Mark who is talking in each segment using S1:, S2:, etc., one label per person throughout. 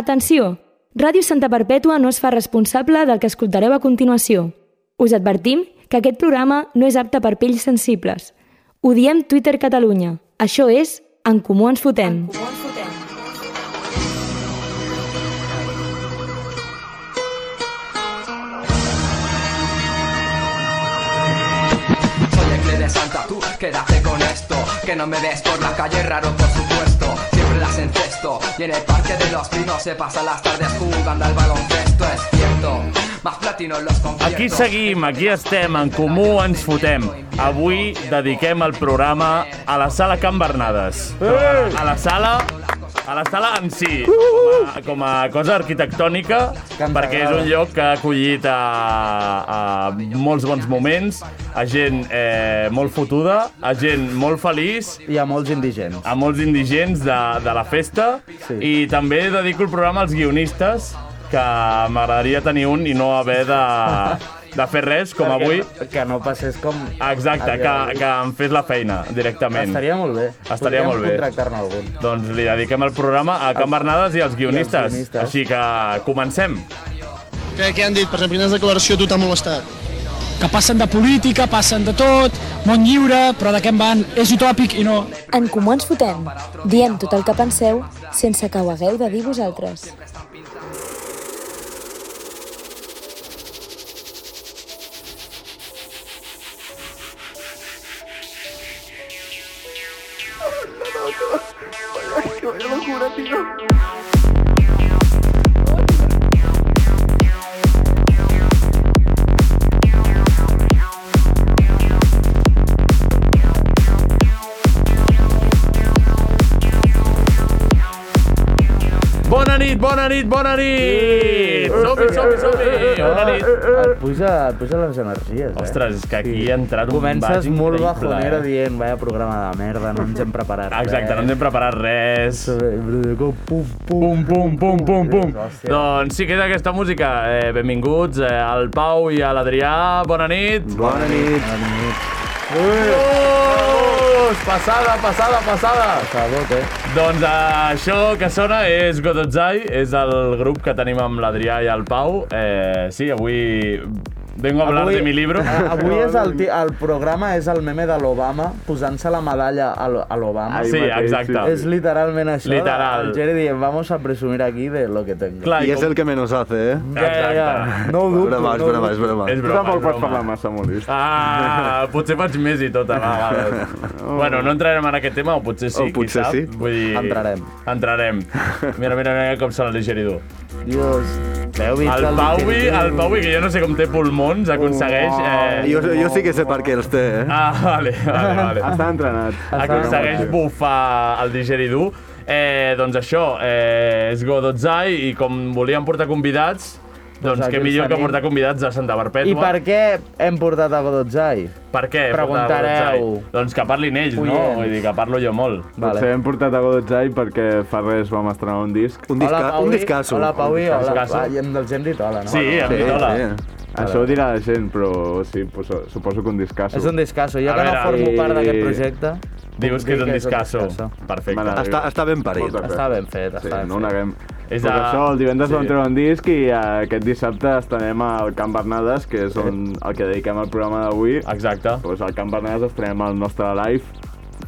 S1: Atenció! Ràdio Santa Perpètua no es fa responsable del que escoltareu a continuació. Us advertim que aquest programa no és apte per pells sensibles. Ho diem Twitter Catalunya. Això és En Comú Ens Fotem.
S2: Soy el clé de Santa, tú quédate con esto Que no me ves por la calle, raro por supuesto Siempre las encesto Y en el parque de los pinos se pasan las tardes jugando al baloncesto Es cierto, más platino en los conciertos
S3: Aquí seguim, aquí estem, en comú ens fotem. Avui dediquem el programa a la sala Can Bernades. Però A la, a la sala... A la sala en si, com a, com a cosa arquitectònica,
S4: Can
S3: perquè és un
S4: Bernades.
S3: lloc que ha acollit a, a molts bons moments, a gent eh, molt fotuda, a gent molt feliç,
S4: Hi ha molts indigents.
S3: a molts indigents de, de la festa sí.
S4: Sí.
S3: i també dedico el programa als guionistes que m'agradaria tenir un i no haver de, de fer res com
S4: Perquè
S3: avui.
S4: no- Que no passés com...
S3: Exacte, que, que em fes la feina directament.
S4: Estaria molt bé.
S3: Estaria molt bé.
S4: contractar-ne algun.
S3: Doncs li dediquem el programa a Can Bernades i als guionistes.
S4: guionistes.
S3: Així que comencem.
S5: Què, què han dit? Per exemple, quina declaració a tu t'ha molestat?
S6: que passen de política, passen de tot, món lliure, però de què en van? És utòpic i no.
S7: En Comú ens fotem. Diem tot el que penseu sense que ho hagueu de dir vosaltres.
S3: Bona nit, bona nit, bona nit! Som-hi, som-hi, som-hi! Bona nit!
S4: Et puja, et puja les energies, eh?
S3: Ostres, és que aquí ha entrat un
S4: Comences
S3: baix
S4: molt
S3: increïble,
S4: bajonera
S3: eh?
S4: dient, vaya programa de merda, no ens hem preparat Eh,
S3: Exacte, no ens hem preparat res.
S4: hem... Pum, pum.
S3: Pum, pum, pum, pum, pum.
S4: Hòstia.
S3: Doncs sí, queda aquesta música. Eh, benvinguts eh, al Pau i a l'Adrià. Bona nit.
S4: Bona nit. Bona nit.
S3: Vamos! Passada, passada, passada.
S4: Està bo, eh?
S3: Doncs eh, això que sona és Godotzai, és el grup que tenim amb l'Adrià i el Pau. Eh, sí, avui vengo a hablar de mi libro.
S4: Ah, Avui és el, ti- el programa és el meme de l'Obama posant-se la medalla a l'O- a l'Obama.
S3: Sí, exacte.
S4: És literalment això.
S3: Literal.
S4: El Jerry dient, vamos a presumir aquí de lo que tengo.
S3: Clar,
S8: Y
S3: i
S8: es
S3: com-
S8: el que menos hace, ¿eh?
S4: Ja, ja.
S3: Exacte.
S4: No ho dubto.
S8: broma, es
S4: no ho
S8: broma, es
S4: dubto.
S8: broma.
S3: És
S9: Tu
S3: broma,
S9: tampoc
S3: és
S9: pots
S3: broma.
S9: parlar massa molest.
S3: Ah, potser faig més i tot a vegades. bueno, no entrarem en aquest tema, o potser sí,
S8: O
S3: qui
S8: potser
S3: sap.
S8: sí.
S3: Vull dir...
S4: Entrarem.
S3: Entrarem. Mira, mira, mira com se l'ha digeridor.
S4: Dios. L'heu vist?
S3: El
S4: el
S3: Paui,
S4: Jerry?
S3: el Paui, que jo no sé com té pulmons, aconsegueix... Eh...
S8: Yo, yo Ah, sí que sé para qué els té, ¿eh?
S3: Ah, vale, vale, vale.
S9: Ah, Està entrenat.
S3: Aconsegueix bufar el digeridor. Eh, doncs això, eh, és Godotzai, i com volíem portar convidats, doncs
S4: aquí
S3: què
S4: els
S3: millor que
S4: tenim.
S3: portar convidats de Santa Perpètua.
S4: I per què hem portat a Godotzai?
S3: Per què?
S4: Preguntareu.
S3: Portar- Doncs que parlin ells, no?
S4: Oients.
S3: Vull dir, que parlo jo molt.
S4: Vale.
S9: Potser hem portat a Godotzai perquè fa res vam estrenar un disc.
S8: Un, disca un discasso.
S4: Hola, Paui. Hola,
S3: discasso.
S4: Va, i hem, els hem dit hola, no?
S3: Sí, em
S8: Sí,
S3: dit hola.
S8: sí.
S9: Això ho dirà la gent, però sí, poso, suposo que un discasso.
S4: És un discasso. Jo
S3: A
S4: que
S3: veure,
S4: no formo
S9: i-
S4: part d'aquest projecte...
S3: Dius
S4: puc
S3: que
S4: dir
S3: és un discasso. Perfecte.
S9: M'agrada.
S8: Està, està ben parit.
S9: Moltes
S4: Està ben fet,
S9: Sí,
S4: està ben
S9: no ho
S4: fet.
S9: neguem.
S3: És
S9: És
S3: a-
S9: a... això, el divendres
S3: sí.
S9: sí. vam treure un disc i eh, aquest dissabte estrenem al Camp Bernades, que és on el que dediquem al programa d'avui.
S3: Exacte.
S9: Doncs al Camp Bernades estrenem el nostre live.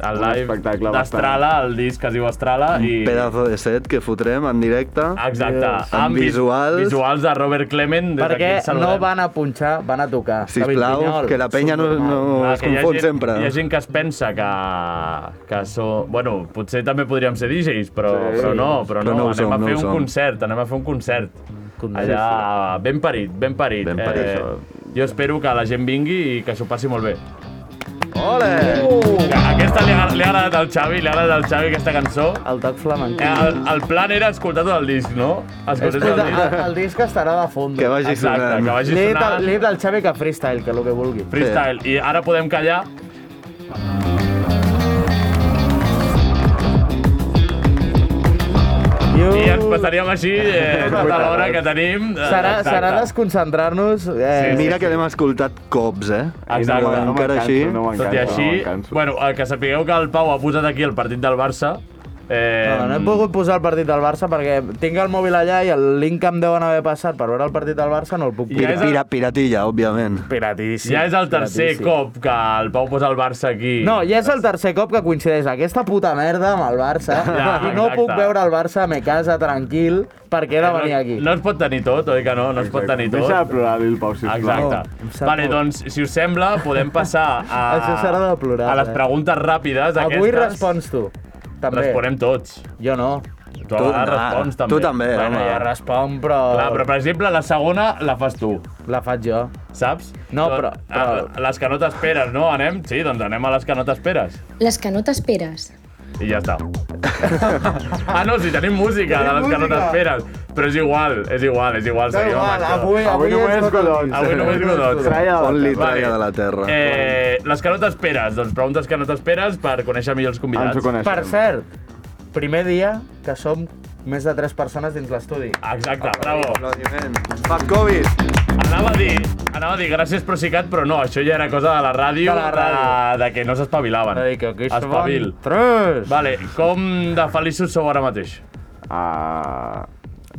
S3: El
S9: Un
S3: live
S9: espectacle
S3: d'Estrala, el disc que es diu Estrala. I...
S8: Pedazo de set que fotrem en directe.
S3: Exacte.
S8: Yes. Amb
S3: vi-
S8: visuals.
S3: Visuals de Robert Clement. Des
S4: Perquè
S3: d'aquí el saludem.
S4: no van a punxar, van a tocar.
S8: Sisplau,
S4: David
S8: que la penya no,
S4: subnormal.
S8: no
S3: Clar,
S8: es
S3: que hi ha
S8: confon
S3: gent-
S8: sempre.
S3: Hi ha gent que es pensa que... que so... Bueno, potser també podríem ser DJs, però, sí, però no, però, no,
S8: Però no ho
S3: anem
S8: som,
S3: a
S8: no
S3: fer
S8: ho
S3: un
S8: som.
S3: concert, anem a fer un concert.
S4: concert.
S3: Allà, ben parit, ben parit. Eh,
S8: Ben parit,
S3: jo espero que la gent vingui i que s'ho passi molt bé.
S8: Ole!
S3: Aquesta li ha, li ha agradat al Xavi, li ha agradat al Xavi aquesta cançó. Eh,
S4: El toc flamenc.
S3: El, el plan era escoltar tot el disc, no? Escoltar tot Ah,
S4: Escolta,
S3: el disc.
S4: el, el disc estarà de fons.
S8: Que vagi
S3: Exacte,
S8: sonant.
S3: que
S4: Li
S3: vagi
S4: he dit al-
S3: sonant.
S4: li he dit al Xavi que freestyle, que el que vulgui.
S3: Freestyle. I ara podem callar. I ens passaríem així eh, tota l'hora que tenim. Eh,
S4: Serà,
S3: exacte.
S4: serà desconcentrar-nos. Eh,
S3: Sí,
S4: sí,
S8: Mira que l'hem escoltat cops, eh?
S3: Exacte.
S8: Però
S9: No
S8: encara
S9: me'n canso,
S8: així...
S9: no me'n
S3: Tot i
S9: canso,
S3: així,
S9: no me'n canso.
S3: bueno, eh, que sapigueu que el Pau ha posat aquí el partit del Barça Eh,
S4: No, no he pogut posar el partit del Barça perquè tinc el mòbil allà i el link que em deuen haver passat per veure el partit del Barça no el puc
S3: Ja
S8: Pir,
S3: és
S4: posar.
S3: el-
S8: pira, piratilla, òbviament.
S4: Piratíssim.
S3: Ja és el tercer
S4: piratíssim.
S3: cop que el Pau posa el Barça aquí.
S4: No, ja és el tercer cop que coincideix aquesta puta merda amb el Barça
S3: Ja,
S4: i no
S3: exacte. Eh,
S4: puc veure el Barça a me casa tranquil perquè he de venir aquí.
S3: No, no es pot tenir tot, oi que no? No es pot tenir tot.
S9: Deixa de plorar, Lil Pau, sisplau.
S3: Exacte.
S4: No, em
S3: No,
S4: sap
S3: vale,
S4: molt.
S3: doncs, si us sembla, podem passar a,
S4: Això serà de plorar,
S3: a les
S4: eh?
S3: preguntes ràpides.
S4: Avui
S3: aquestes.
S4: respons tu. També.
S3: Responem tots.
S4: Jo no.
S3: Tu, tu
S8: no,
S3: respons, també.
S8: tu també,
S3: Bueno,
S8: home.
S3: ja res...
S4: Respon, però...
S3: Clar, però, per exemple, la segona la fas tu,
S4: La faig jo.
S3: saps?
S4: No,
S3: Doncs,
S4: però- però-
S3: a- Les que no t'esperes, no? Anem? Sí, doncs anem a les que no t'esperes.
S7: Les que no t'esperes.
S3: I ja està. ah, no, sí, tenim música de les que no
S4: música.
S3: t'esperes. Però és igual, és igual, és igual.
S4: Da
S3: seguim amb
S4: igual,
S3: això.
S4: avui,
S9: Avui
S4: avui,
S9: només
S4: és tot-
S9: godons.
S3: Avui només godons.
S9: Traia de la
S8: Only
S9: terra.
S8: traia de la terra.
S3: Eh, les que no t'esperes, doncs preguntes que no t'esperes per conèixer millor els
S9: Ens ho
S3: convidats.
S9: coneixem.
S4: Per cert, primer dia que som més de 3 persones dins l'estudi.
S3: Exacte, bravo.
S8: Aplaudiment. Fuck Covid.
S3: Anava a dir, anava a dir gràcies Procicat, però no, això ja era cosa de la ràdio,
S4: De la ràdio.
S3: de, de que no s'espavilaven. Espavil.
S4: 3.
S3: Vale, com de feliços sou ara mateix?
S9: Ah,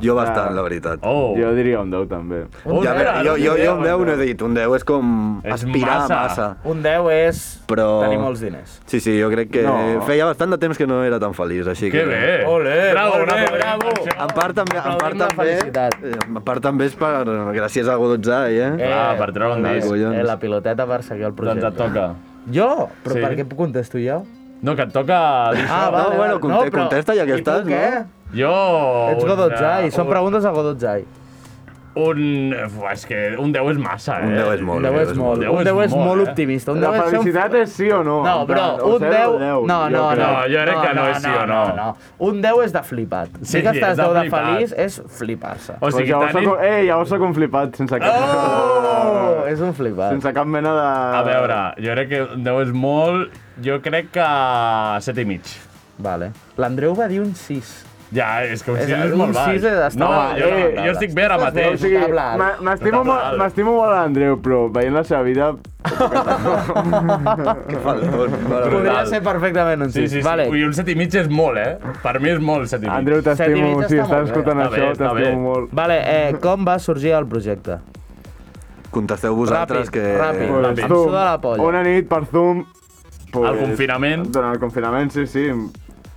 S8: Jo bastant, la veritat.
S3: Oh.
S9: jo diria un 10, també.
S3: Un
S8: ja, a
S3: deu,
S8: veure, jo,
S3: un
S8: jo,
S3: deu,
S8: jo un 10 no he
S3: deu.
S8: dit, un 10 és com
S3: És
S8: aspirar
S3: massa.
S8: a massa.
S4: Un 10 és
S8: Però-
S4: tenir molts diners.
S8: Sí, sí, jo crec que
S9: No.
S8: feia bastant de temps que no era tan feliç, així
S3: Que
S8: que...
S3: bé.
S4: Ole,
S3: bravo,
S4: molt bé,
S3: bravo,
S4: bravo.
S8: En part també, en part
S4: Aplaudim la
S8: també,
S4: felicitat.
S8: eh, en part també és per, gràcies a Godotzai, eh?
S3: Ah, per treure un
S8: Eh,
S3: disc.
S8: collons.
S4: Eh, la piloteta per seguir el
S3: Doncs
S4: projecte.
S3: et toca.
S4: Jo? Però
S3: Sí.
S4: per què contesto jo?
S3: No, que et toca... dir això.
S4: Ah,
S8: va. no, Ah, bueno, conte- contesta ja que
S4: I tu
S8: estàs, no?
S4: què?
S3: Jo...
S4: Ets
S3: un,
S4: Godotzai,
S3: eh,
S4: són
S3: un-
S4: preguntes a Godotzai.
S3: Un... Uf, és que un 10 és massa, eh?
S8: Un 10 és
S4: Un
S8: molt.
S4: 10 és molt,
S3: molt.
S4: un 10 és molt
S3: eh?
S4: optimista. Un
S9: La
S4: 10 és ser un
S9: felicitat és sí o no?
S4: No,
S9: En
S4: però
S9: plan, o
S4: un 10...
S9: zero o deu,
S4: no,
S9: jo
S4: no,
S9: crec. Doncs
S4: no,
S3: No, jo crec que no és sí o no.
S4: Un 10 és de flipat.
S3: Sí,
S4: Sí, que
S3: és
S4: estàs
S3: de
S4: 10 de
S3: flipat. Oh!
S4: feliç és flipar-se.
S3: O
S9: Pues
S3: sigui,
S9: llavors
S3: tenim...
S9: sóc, eh, llavors sóc un flipat, sense cap,
S4: Oh, és un flipat.
S9: sense cap mena de...
S3: A veure, jo crec que un 10 és molt... Jo crec que 7 i mig.
S4: Vale. L'Andreu va dir un 6.
S3: Ja, és que un
S4: És-
S3: 6 és
S4: un
S3: molt baix.
S4: sis és estar
S3: no,
S4: mal,
S3: jo,
S9: eh,
S3: no, jo estic bé ara
S9: O
S3: mateix.
S9: sigui,
S4: Tabla.
S9: m'a- m'estimo
S3: Tabla.
S9: molt, m'estimo molt a l'Andreu, però veient la seva vida...
S8: Que faldón. Vale, vale.
S4: Podria
S3: Brutal.
S4: ser perfectament un 6.
S3: Sí, sí, sí.
S4: Vale.
S3: Ui, un 7 i mig és molt, eh? Per mi és molt 7 i mig.
S9: Andreu,
S4: Set
S9: t'estimo,
S4: i mig
S9: si
S4: està molt
S9: estàs
S4: bé.
S9: escoltant
S3: Està bé,
S9: això,
S3: està bé.
S9: t'estimo molt.
S4: Vale, eh, com va sorgir el projecte?
S8: Contesteu vosaltres
S4: Ràpid,
S8: que...
S4: ràpid.
S9: Pues,
S4: Em
S9: Zoom,
S4: suda la polla.
S9: Una nit per Zoom... Pues,
S3: Al confinament.
S9: Durant el confinament, sí, sí.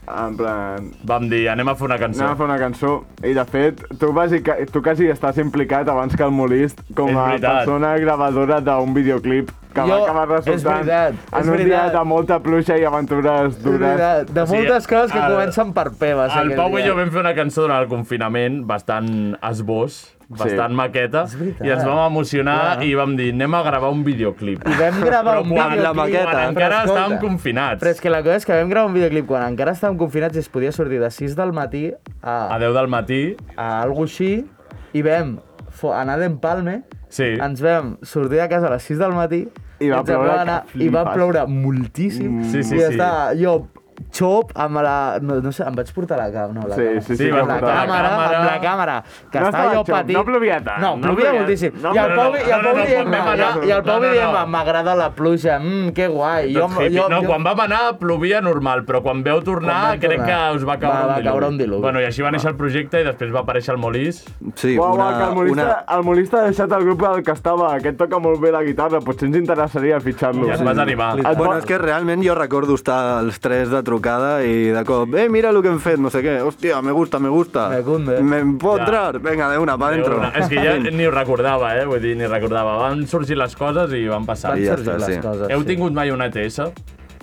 S9: En plan,
S3: Vam dir, anem a fer una
S9: Anava a
S3: cançó.
S9: fer una cançó i, de fet, tu, bàsica, tu quasi estàs implicat abans que el Molist com
S3: És
S9: a
S3: veritat.
S9: persona gravadora d'un videoclip que va
S4: Jo-
S9: acabar
S4: és
S9: resultant
S4: veritat, és
S9: en un dia
S4: veritat.
S9: de molta pluja i aventures
S4: De
S9: dures.
S4: veritat, de
S3: sigui,
S4: moltes coses que
S3: el-
S4: comencen per P, va ser
S3: El
S4: aquell
S3: Pau i
S4: dia.
S3: jo vam fer una cançó durant el confinament, bastant esbós, bastant maqueta,
S4: veritat.
S3: i ens vam emocionar i vam dir, anem a gravar un videoclip.
S4: I vam gravar un
S3: quan
S4: videoclip...
S8: la maqueta.
S3: Quan
S4: Però
S3: encara
S4: escolta,
S3: estàvem confinats.
S4: Però és que la cosa és que vam gravar un videoclip quan encara estàvem confinats i es podia sortir de 6 del matí a,
S3: A 10 del matí,
S4: a algo així i vam fo- anar d'empalme,
S3: sí.
S4: ens vam sortir de casa a les 6 del matí
S9: I va
S4: ens en
S9: ploure
S4: vam
S9: que
S4: anar, i va
S9: flipes. Mm.
S4: ploure moltíssim
S3: Sí, sí,
S4: i
S3: sí.
S4: estava jo xop amb la... No, no sé, em vaig portar la càmera. No, la
S9: Sí,
S4: càmera.
S9: sí,
S3: Sí,
S9: sí.
S3: va
S9: que
S4: amb la
S3: portar
S9: portava.
S3: la
S4: càmera,
S3: càmera.
S4: amb la càmera, que
S9: No
S4: estava
S9: estava
S4: jo
S9: xop,
S4: petit...
S9: no plovia tant,
S4: No,
S9: no
S4: plovia
S9: plovia-
S4: moltíssim.
S9: no,
S4: I el
S9: però
S4: Pau,
S3: no,
S4: i
S3: no,
S4: el Pau
S3: no, no,
S4: dient,
S3: quan vam anar-
S4: i el Pau
S3: no, no,
S4: dient,
S3: no.
S4: m'agrada la pluja, mmm, que guai.
S3: Tot hippie. no, quan vam anar plovia normal, però quan veu tornar
S4: Quan vam
S3: crec
S4: tornar.
S3: que us va caure,
S4: Va- va caure un diluvi.
S3: Bueno, I així va néixer el projecte i després va aparèixer el Molís.
S8: Sí,
S9: Uau,
S8: una,
S9: uau, que el molista,
S8: una,
S9: el molista ha deixat el grup del que estava, aquest toca molt bé la guitarra, potser ens interessaria
S3: I
S9: fitxar-lo.
S3: et vas animar.
S9: Et
S8: Bueno,
S9: pot-
S8: és que realment jo recordo estar els tres de trucada i de cop, eh, mira el que hem fet, no sé què, hòstia, me gusta, me gusta.
S4: Me cunde.
S8: Me puedo
S3: Ja.
S8: entrar? Venga, de una, pa dentro.
S3: Una- És que ja ni ho recordava, eh? Vull dir, ni recordava. Van sorgir les coses i van passar.
S4: Van
S8: I ja
S4: sorgir
S8: està,
S4: les
S8: sí.
S4: coses,
S3: Heu
S4: sí.
S3: tingut mai una E ETS?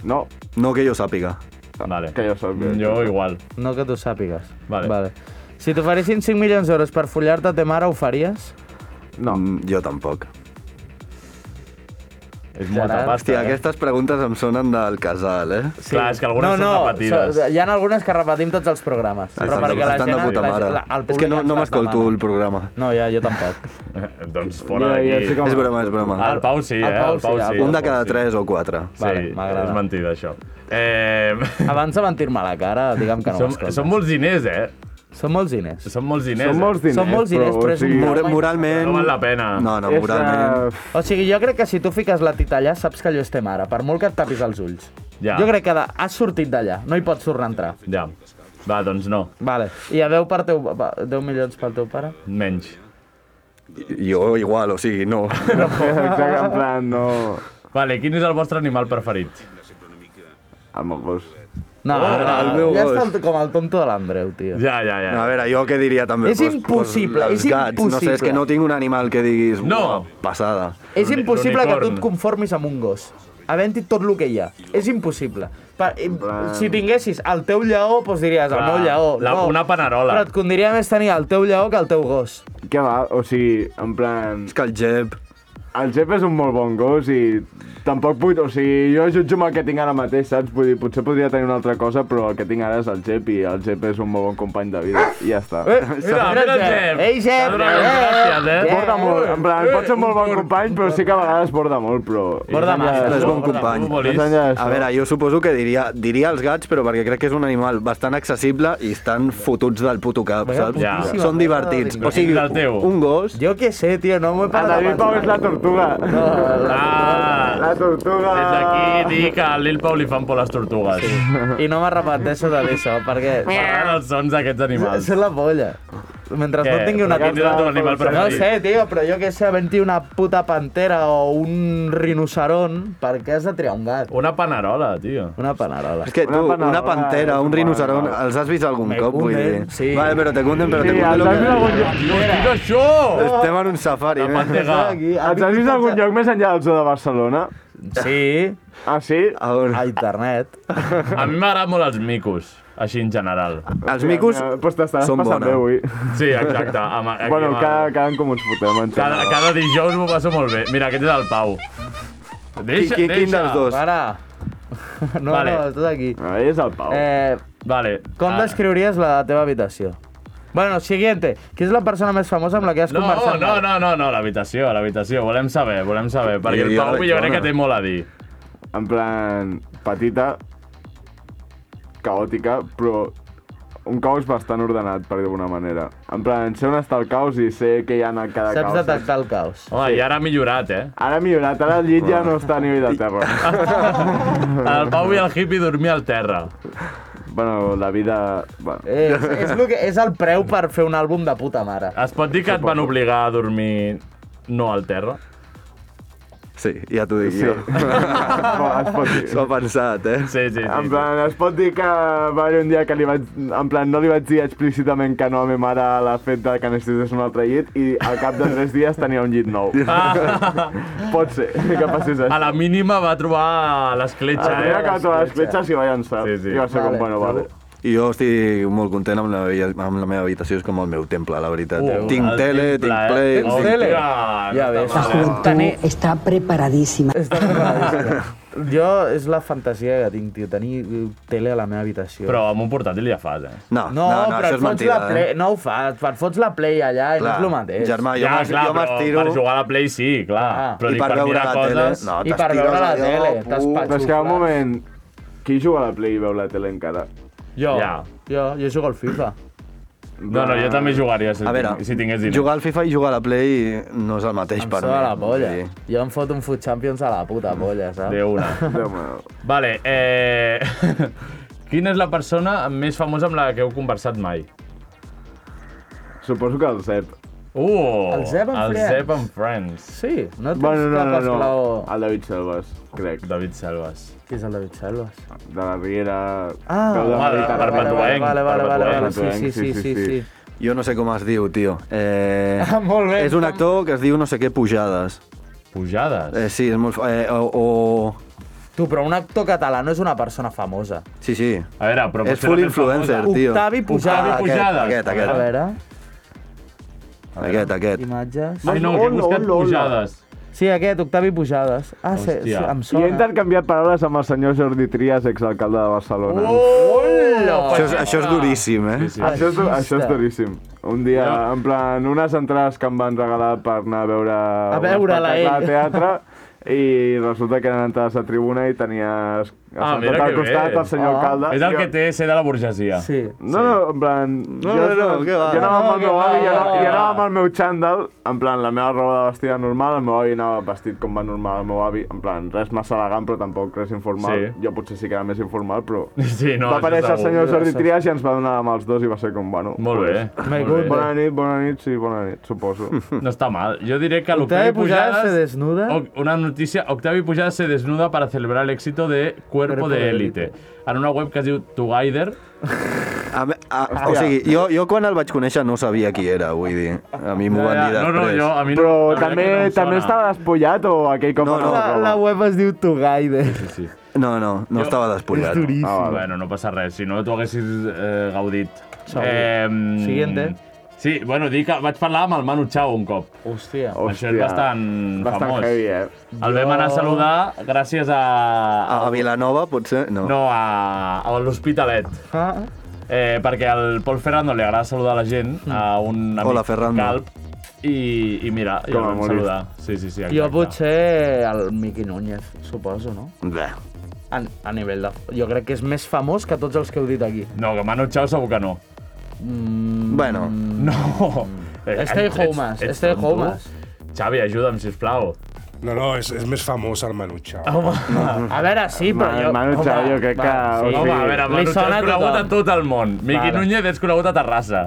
S9: No,
S8: No que jo sàpiga.
S3: Vale.
S9: que jo sóc.
S3: Jo igual.
S4: No que tu sàpigues.
S3: Vale.
S4: vale. Si t'oferessin 5 milions d'euros per follar-te a te mare, ho faries?
S9: No.
S8: Mm, Jo tampoc.
S3: És molta
S4: Gerard?
S3: pasta.
S8: Hòstia,
S3: eh?
S8: aquestes preguntes em sonen del casal, eh?
S3: Sí. Clar, és que algunes
S4: no,
S3: són
S4: no,
S3: repetides.
S4: so- Hi ha algunes que repetim tots els programes.
S8: Estan de- estan de puta mare.
S4: la- el
S8: és que
S4: públic
S8: no, no
S4: ens les
S8: m'escolto
S4: demana.
S8: el programa.
S4: No, ja, jo tampoc.
S3: doncs fora
S9: Ja, ja
S3: d'aquí.
S9: sé com-
S8: És broma, és broma.
S3: El Pau sí, eh?
S4: El Pau
S3: El Pau
S4: sí, el
S3: sí.
S4: Pau
S8: Un de cada
S3: Sí.
S8: tres o quatre.
S3: Sí,
S4: Vale, m'agrada.
S3: és mentida, això. Eh,
S4: Abans de mentir-me la cara, digue'm que no
S3: són,
S4: m'escoltes.
S3: són molts diners, eh?
S4: Són molts diners.
S3: Són molts diners.
S9: Són molts
S3: eh?
S9: diners,
S4: Són molts diners, però és
S9: o sigui,
S4: un
S8: Mor moralment...
S3: No val la pena.
S8: No, no,
S9: és,
S8: moralment...
S9: eh,
S4: O sigui, jo crec que si tu fiques la tita allà, saps que allò és ta mare, per molt que et tapis els ulls.
S3: Ja.
S4: Jo crec que de... has sortit d'allà, no hi pots tornar a entrar.
S3: Ja. Va, doncs no.
S4: Vale. I a 10, per teu, pa- 10 milions pel teu pare?
S3: Menys.
S8: Jo igual, o sigui, no.
S9: Exacte, en plan, no...
S3: Vale, quin és el vostre animal preferit?
S9: El meu gos.
S4: No,
S8: Ah, el meu
S4: ja
S8: gos.
S4: està com el tonto de l'Andreu, tio.
S3: Ja, ja, ja.
S8: A veure, jo què diria també?
S4: És impossible,
S8: els
S4: és
S8: gats. No sé, és que
S4: impossible.
S8: no tinc un animal que diguis...
S3: No.
S8: "Buah, Passada.
S4: És impossible que tu
S3: l'unicorn.
S4: et conformis amb un gos. Havent-hi tot el que hi ha. És impossible. Per, i- si tinguessis el teu lleó, doncs diries el
S3: Clar,
S4: meu lleó.
S3: la-
S4: no.
S3: una panerola.
S4: Però et condiria més tenir el teu lleó que el teu gos.
S9: Què va? O sigui, en plan...
S8: És que el Jeb...
S9: El Jep és un molt bon gos i tampoc vull... O sigui, jo jutjo amb el que tinc ara mateix, saps? Vull dir, potser podria tenir una altra cosa, però el que tinc ara és el Jep i el Jep és un molt bon company de vida. I ja està. Eh?
S3: Mira, mira el Jep.
S4: Ei,
S3: T'ha
S4: Jep!
S3: donat les gràcies, eh?
S9: Borda molt, en plan, pot ser molt bon company, però sí que a vegades borda molt, però...
S4: Borda
S9: Més enllà
S4: massa.
S9: d'això-
S8: És bon
S3: Hola,
S8: company.
S3: futbolista.
S9: Més enllà
S8: A
S9: d'això-
S8: veure, jo suposo que diria, diria els gats, però perquè crec que és un animal bastant accessible i estan fotuts del puto cap, saps?
S3: Ja.
S8: Són divertits. O sigui,
S3: Del teu.
S8: un gos...
S4: Jo què sé, tio, no m'ho he
S9: El
S4: parat
S9: David Pau és la tortuga.
S3: Ah,
S9: La tortuga.
S3: des d'aquí dic que al Lil Pau li fan por les tortugues. Sí.
S4: I no m'arrepenteixo de dir això, perquè...
S3: Parlant els sons d'aquests animals.
S4: Ser la polla. Mentre
S3: Què?
S4: no tingui una
S3: Quin és el teu animal
S4: No
S3: preferit?
S4: sé, tio, però jo què sé, havent-hi una puta pantera o un rinoceron, per què has de triar un gat?
S3: Una panerola, tio.
S4: Una eh, panerola.
S8: És que tu,
S9: Una pantera,
S8: una, pantera,
S9: és
S8: un
S9: un
S8: rinoceront,
S9: animal.
S8: els has vist algun
S4: Me
S8: cop, vull
S4: cunden,
S8: dir.
S4: sí.
S8: Vale, però te cunden, però
S9: Sí,
S8: te
S9: els
S8: cunden
S9: has vist
S8: lo
S9: algun
S8: que...
S9: lloc?
S3: Dios, què és això?
S8: Estem en un safari, eh.
S3: La
S8: nen.
S3: pantega.
S9: Els has vist algun lloc més enllà del zoo de Barcelona?
S4: Sí,
S9: Ah, sí?
S8: A on?
S4: a internet.
S3: A mi m'agraden molt els micos, així en general.
S8: Els micos...
S9: Eh, Pues t'estaràs
S8: són
S9: passant
S8: bona.
S4: eh,
S9: bé avui.
S3: Sí, exacte. Amb, aquí,
S9: Bueno,
S3: amb-
S9: cada, cada com ens fotem, en
S3: cada,
S9: general.
S3: cada dijous m'ho passo molt bé. Mira, aquest és el Pau. Deixa,
S8: Qui- qui- quin
S3: deixa.
S8: dels dos?
S4: Para. No,
S3: Vale.
S4: vale. no, tot aquí.
S9: Ah, ell és el Pau.
S4: Eh,
S3: Vale.
S4: com
S3: Ah.
S4: descriuries la teva habitació? Bueno, siguiente. Qui és la persona més famosa amb la que has
S3: No,
S4: conversat?
S3: no, no, no, no, l'habitació, l'habitació. Volem saber, volem saber. Perquè el
S8: Jo-
S3: Pau
S8: jo-
S3: jo crec
S8: jo-
S3: que té molt a dir.
S9: En plan, petita, caòtica, però un caos bastant ordenat, per dir-ho d'alguna manera. En plan, sé on està el caos i sé que hi ha en cada
S4: Saps
S9: caos.
S4: detectar el caos.
S3: Home, i ara ha millorat, eh?
S9: Ara ha millorat, ara el llit ja no està a nivell de terra.
S3: El Pau i el hippie dormia al terra.
S9: bueno, la vida... Bueno.
S4: Eh, és, és, lo que, és el preu per fer un àlbum de puta mare.
S3: Es pot dir que et van obligar a dormir no al terra?
S8: Sí, ja t'ho dic
S9: Sí.
S8: jo.
S9: es pot dir.
S8: S'ho ha pensat, eh?
S3: Sí, sí, sí.
S9: En plan, es pot dir que va haver un dia que li vaig... En plan, no li vaig dir explícitament que no a ma mare l'ha fet de que necessités un altre llit i al cap de tres dies tenia un llit nou. pot ser que passés
S3: Ah. A
S9: això.
S3: la mínima va trobar l'escletxa,
S4: Ah,
S3: eh?
S9: El dia Ah, que va trobar les fletxes i va llançar.
S3: Sí, sí.
S9: I va ser
S4: Vale.
S9: com, bueno, vale.
S8: I jo estic molt content amb la, meva- amb la meva habitació, és com el meu temple, la veritat.
S3: Uh,
S8: tinc
S3: el
S8: tele,
S3: temple,
S8: tinc
S3: eh?
S8: play...
S3: Tens
S8: tinc-
S3: tele?
S4: Ja
S3: no
S4: ves.
S3: està mal,
S4: Tenir,
S10: Está preparadísima.
S4: Està preparadíssima. Jo, és la fantasia que tinc, tio, tenir eh, tele a la meva habitació.
S3: Però amb un portàtil ja fas, eh?
S8: No, no,
S4: No, però
S8: no, això
S4: et
S8: és
S4: fots
S8: mentida.
S4: la play,
S8: eh?
S4: no ho fas, et fots la play allà i no és el mateix.
S8: Germà, Ah, jo
S3: ja,
S8: m'es-
S3: clar,
S8: jo
S3: però
S8: m'estiro...
S3: per jugar a la Play sí, clar.
S4: Ah.
S3: Però
S8: I
S3: dic,
S8: per veure
S3: mirar
S8: la
S3: coses...
S8: tele... No,
S4: I per
S8: t'estires
S4: veure la
S8: allò,
S4: tele,
S8: pu-
S4: t'espatxes.
S9: Però és que un moment... Qui juga a la Play i veu la tele encara?
S4: Jo,
S3: Ja.
S4: jo, jo jugo al FIFA.
S3: No, no, jo també jugaria si,
S8: A veure,
S3: si tingués diners.
S8: jugar al FIFA i jugar a la Play no és el mateix
S4: Em
S8: per mi.
S4: sona la polla.
S8: Sí.
S4: Jo em fot un Foot Champions a la puta polla, saps?
S3: De una.
S9: Déu meu.
S3: Vale, eh... Quina és la persona més famosa amb la que heu conversat mai?
S9: Suposo que el Zep.
S3: Uh!
S4: El Zeb and
S3: el
S4: Friends.
S3: Zeb and Friends.
S4: Sí, no tens
S9: Bueno, no,
S4: cap
S9: no,
S4: esclau...
S9: no. El David Selves, crec.
S3: David Selves.
S4: Qui és el David Salvas?
S9: De la Riera...
S4: Ah,
S9: Veu de
S3: vale, vale,
S9: Mediterrani.
S3: vale. Perpetuenc,
S4: Vale, vale, vale, vale, sí, sí,
S9: perpetuenc,
S4: sí, sí, sí.
S8: Jo no sé com es diu, tio. Eh...
S4: Ah, molt bé.
S8: És un actor que es diu no sé què Pujades.
S3: Pujades.
S8: Eh, sí, és molt... fa- Eh, o, o...
S4: Tu, però un actor català no és una persona famosa.
S8: Sí, sí.
S3: A veure, però...
S8: és
S3: potser la
S8: full
S3: més
S8: influencer,
S3: famosa.
S8: Ah, tio. Ah,
S4: Octavi
S9: Ah,
S4: Pujades.
S3: Octavi Pujades.
S8: Aquest, aquest,
S4: A
S8: aquest.
S4: veure,
S8: Aquest, aquest.
S4: imatges...
S3: Ai, no, que he buscat Pujades.
S4: Sí, aquest, Octavi Pujades. Ah, sí, sí,
S3: Hòstia.
S4: em
S9: I
S4: sona.
S9: he intercanviat paraules amb el senyor Jordi Trias, exalcalde de Barcelona.
S4: Hola!
S8: Això és, això és duríssim, eh?
S3: Sí, sí.
S9: Això és, això és duríssim. Un dia,
S3: Jo-
S9: en plan, unes entrades que em van regalar per anar a veure... A
S4: veure-la,
S9: A
S4: ell.
S9: teatre, i resulta que eren entrades a tribuna i tenies
S3: Ah, mira
S9: al
S3: que bé.
S9: costat, el senyor alcalde.
S3: És el
S9: Jo-
S3: que té ser de la burgesia.
S4: Sí.
S9: No, no, en plan...
S8: No,
S9: jo,
S8: no, no, què va?
S9: Jo anava amb el
S3: No, què
S9: meu
S3: va,
S9: avi, jo anava,
S3: què
S9: jo anava amb
S3: va.
S9: el meu xandall, en plan, la meva roba de vestida normal, el meu avi anava vestit com va normal el meu avi, en plan, res massa elegant, però tampoc res informal.
S3: Sí.
S9: Jo potser sí que era més informal, però...
S3: Sí, no,
S9: va
S3: això
S9: aparèixer el
S3: segur.
S9: senyor Jordi Trias i ens va donar amb els dos i va ser com, bueno...
S3: Molt bé. Molt
S4: My
S3: bé.
S4: goodness.
S9: Bona nit, bona nit, sí, bona nit, suposo.
S3: eh. No està mal. Jo diré que
S4: Octavio
S3: l'Octavi
S4: Pujades Oh,
S3: Pujades...
S4: se desnuda.
S3: O- Una notícia. Octavi Pujades se desnuda para celebrar el éxito de Cuerpo
S4: Cuerpo
S3: de
S4: de
S3: Élite. En una web que es diu Together.
S8: A, me- a, o sigui, jo, jo quan el vaig conèixer no sabia qui era, vull dir. A mi m'ho van dir
S3: Eh, No,
S8: després.
S3: no, jo... A mi no,
S9: Però
S3: la veritat
S9: també,
S3: que no em
S9: també
S3: sona.
S9: estava despullat o aquell cop...
S8: No, no.
S4: La,
S9: roba?
S4: la web es diu Togaide.
S3: Sí, sí.
S8: No, no, no estava despullat.
S4: És duríssim.
S9: Ah, vale.
S3: Bueno, no passa res, si no t'ho haguessis eh, gaudit.
S4: Segur.
S3: Eh,
S4: Siguiente.
S3: Sí, bueno, dic que vaig parlar amb el Manu Chao un cop.
S4: Hòstia.
S3: Això
S9: Hòstia,
S3: és bastant,
S9: bastant
S3: famós.
S9: heavy, eh? Ah.
S3: El vam anar a saludar gràcies a...
S8: A Vilanova, potser? No.
S3: No, a, a l'Hospitalet.
S4: Ah,
S3: Eh, perquè al Pol Ferrando li agrada saludar la gent,
S9: Hmm.
S3: a un amic
S8: Hola, Ferrando.
S3: calp, i, i mira, i el
S9: Com a
S3: vam
S9: humorista.
S3: saludar. Sí, sí, sí, exacte.
S4: jo potser el Miqui Núñez, suposo, no?
S8: Bé.
S4: A, a nivell de... Jo crec que és més famós que tots els que heu dit aquí.
S3: No, que Manu Chao segur que no.
S8: Bueno,
S4: Mm.
S9: Mm.
S3: No! Eh,
S4: Stay
S3: ets-
S4: homes,
S3: ets
S4: stay
S3: tonto?
S4: homes.
S3: Xavi, ajuda'm, sisplau.
S10: No, no, és, és més famós el Manucha.
S3: Home,
S4: A veure, sí, però
S9: Ma-
S4: jo...
S9: Manu
S4: home,
S9: Chao, jo crec
S4: va,
S9: que-
S4: Sí.
S3: home
S9: o sigui,
S3: a veure,
S4: li
S3: Manu Chao
S4: sona
S3: és
S4: a
S3: conegut a
S4: tothom.
S3: tot el món. Miqui
S4: Vale.
S3: Núñez és conegut a Terrassa.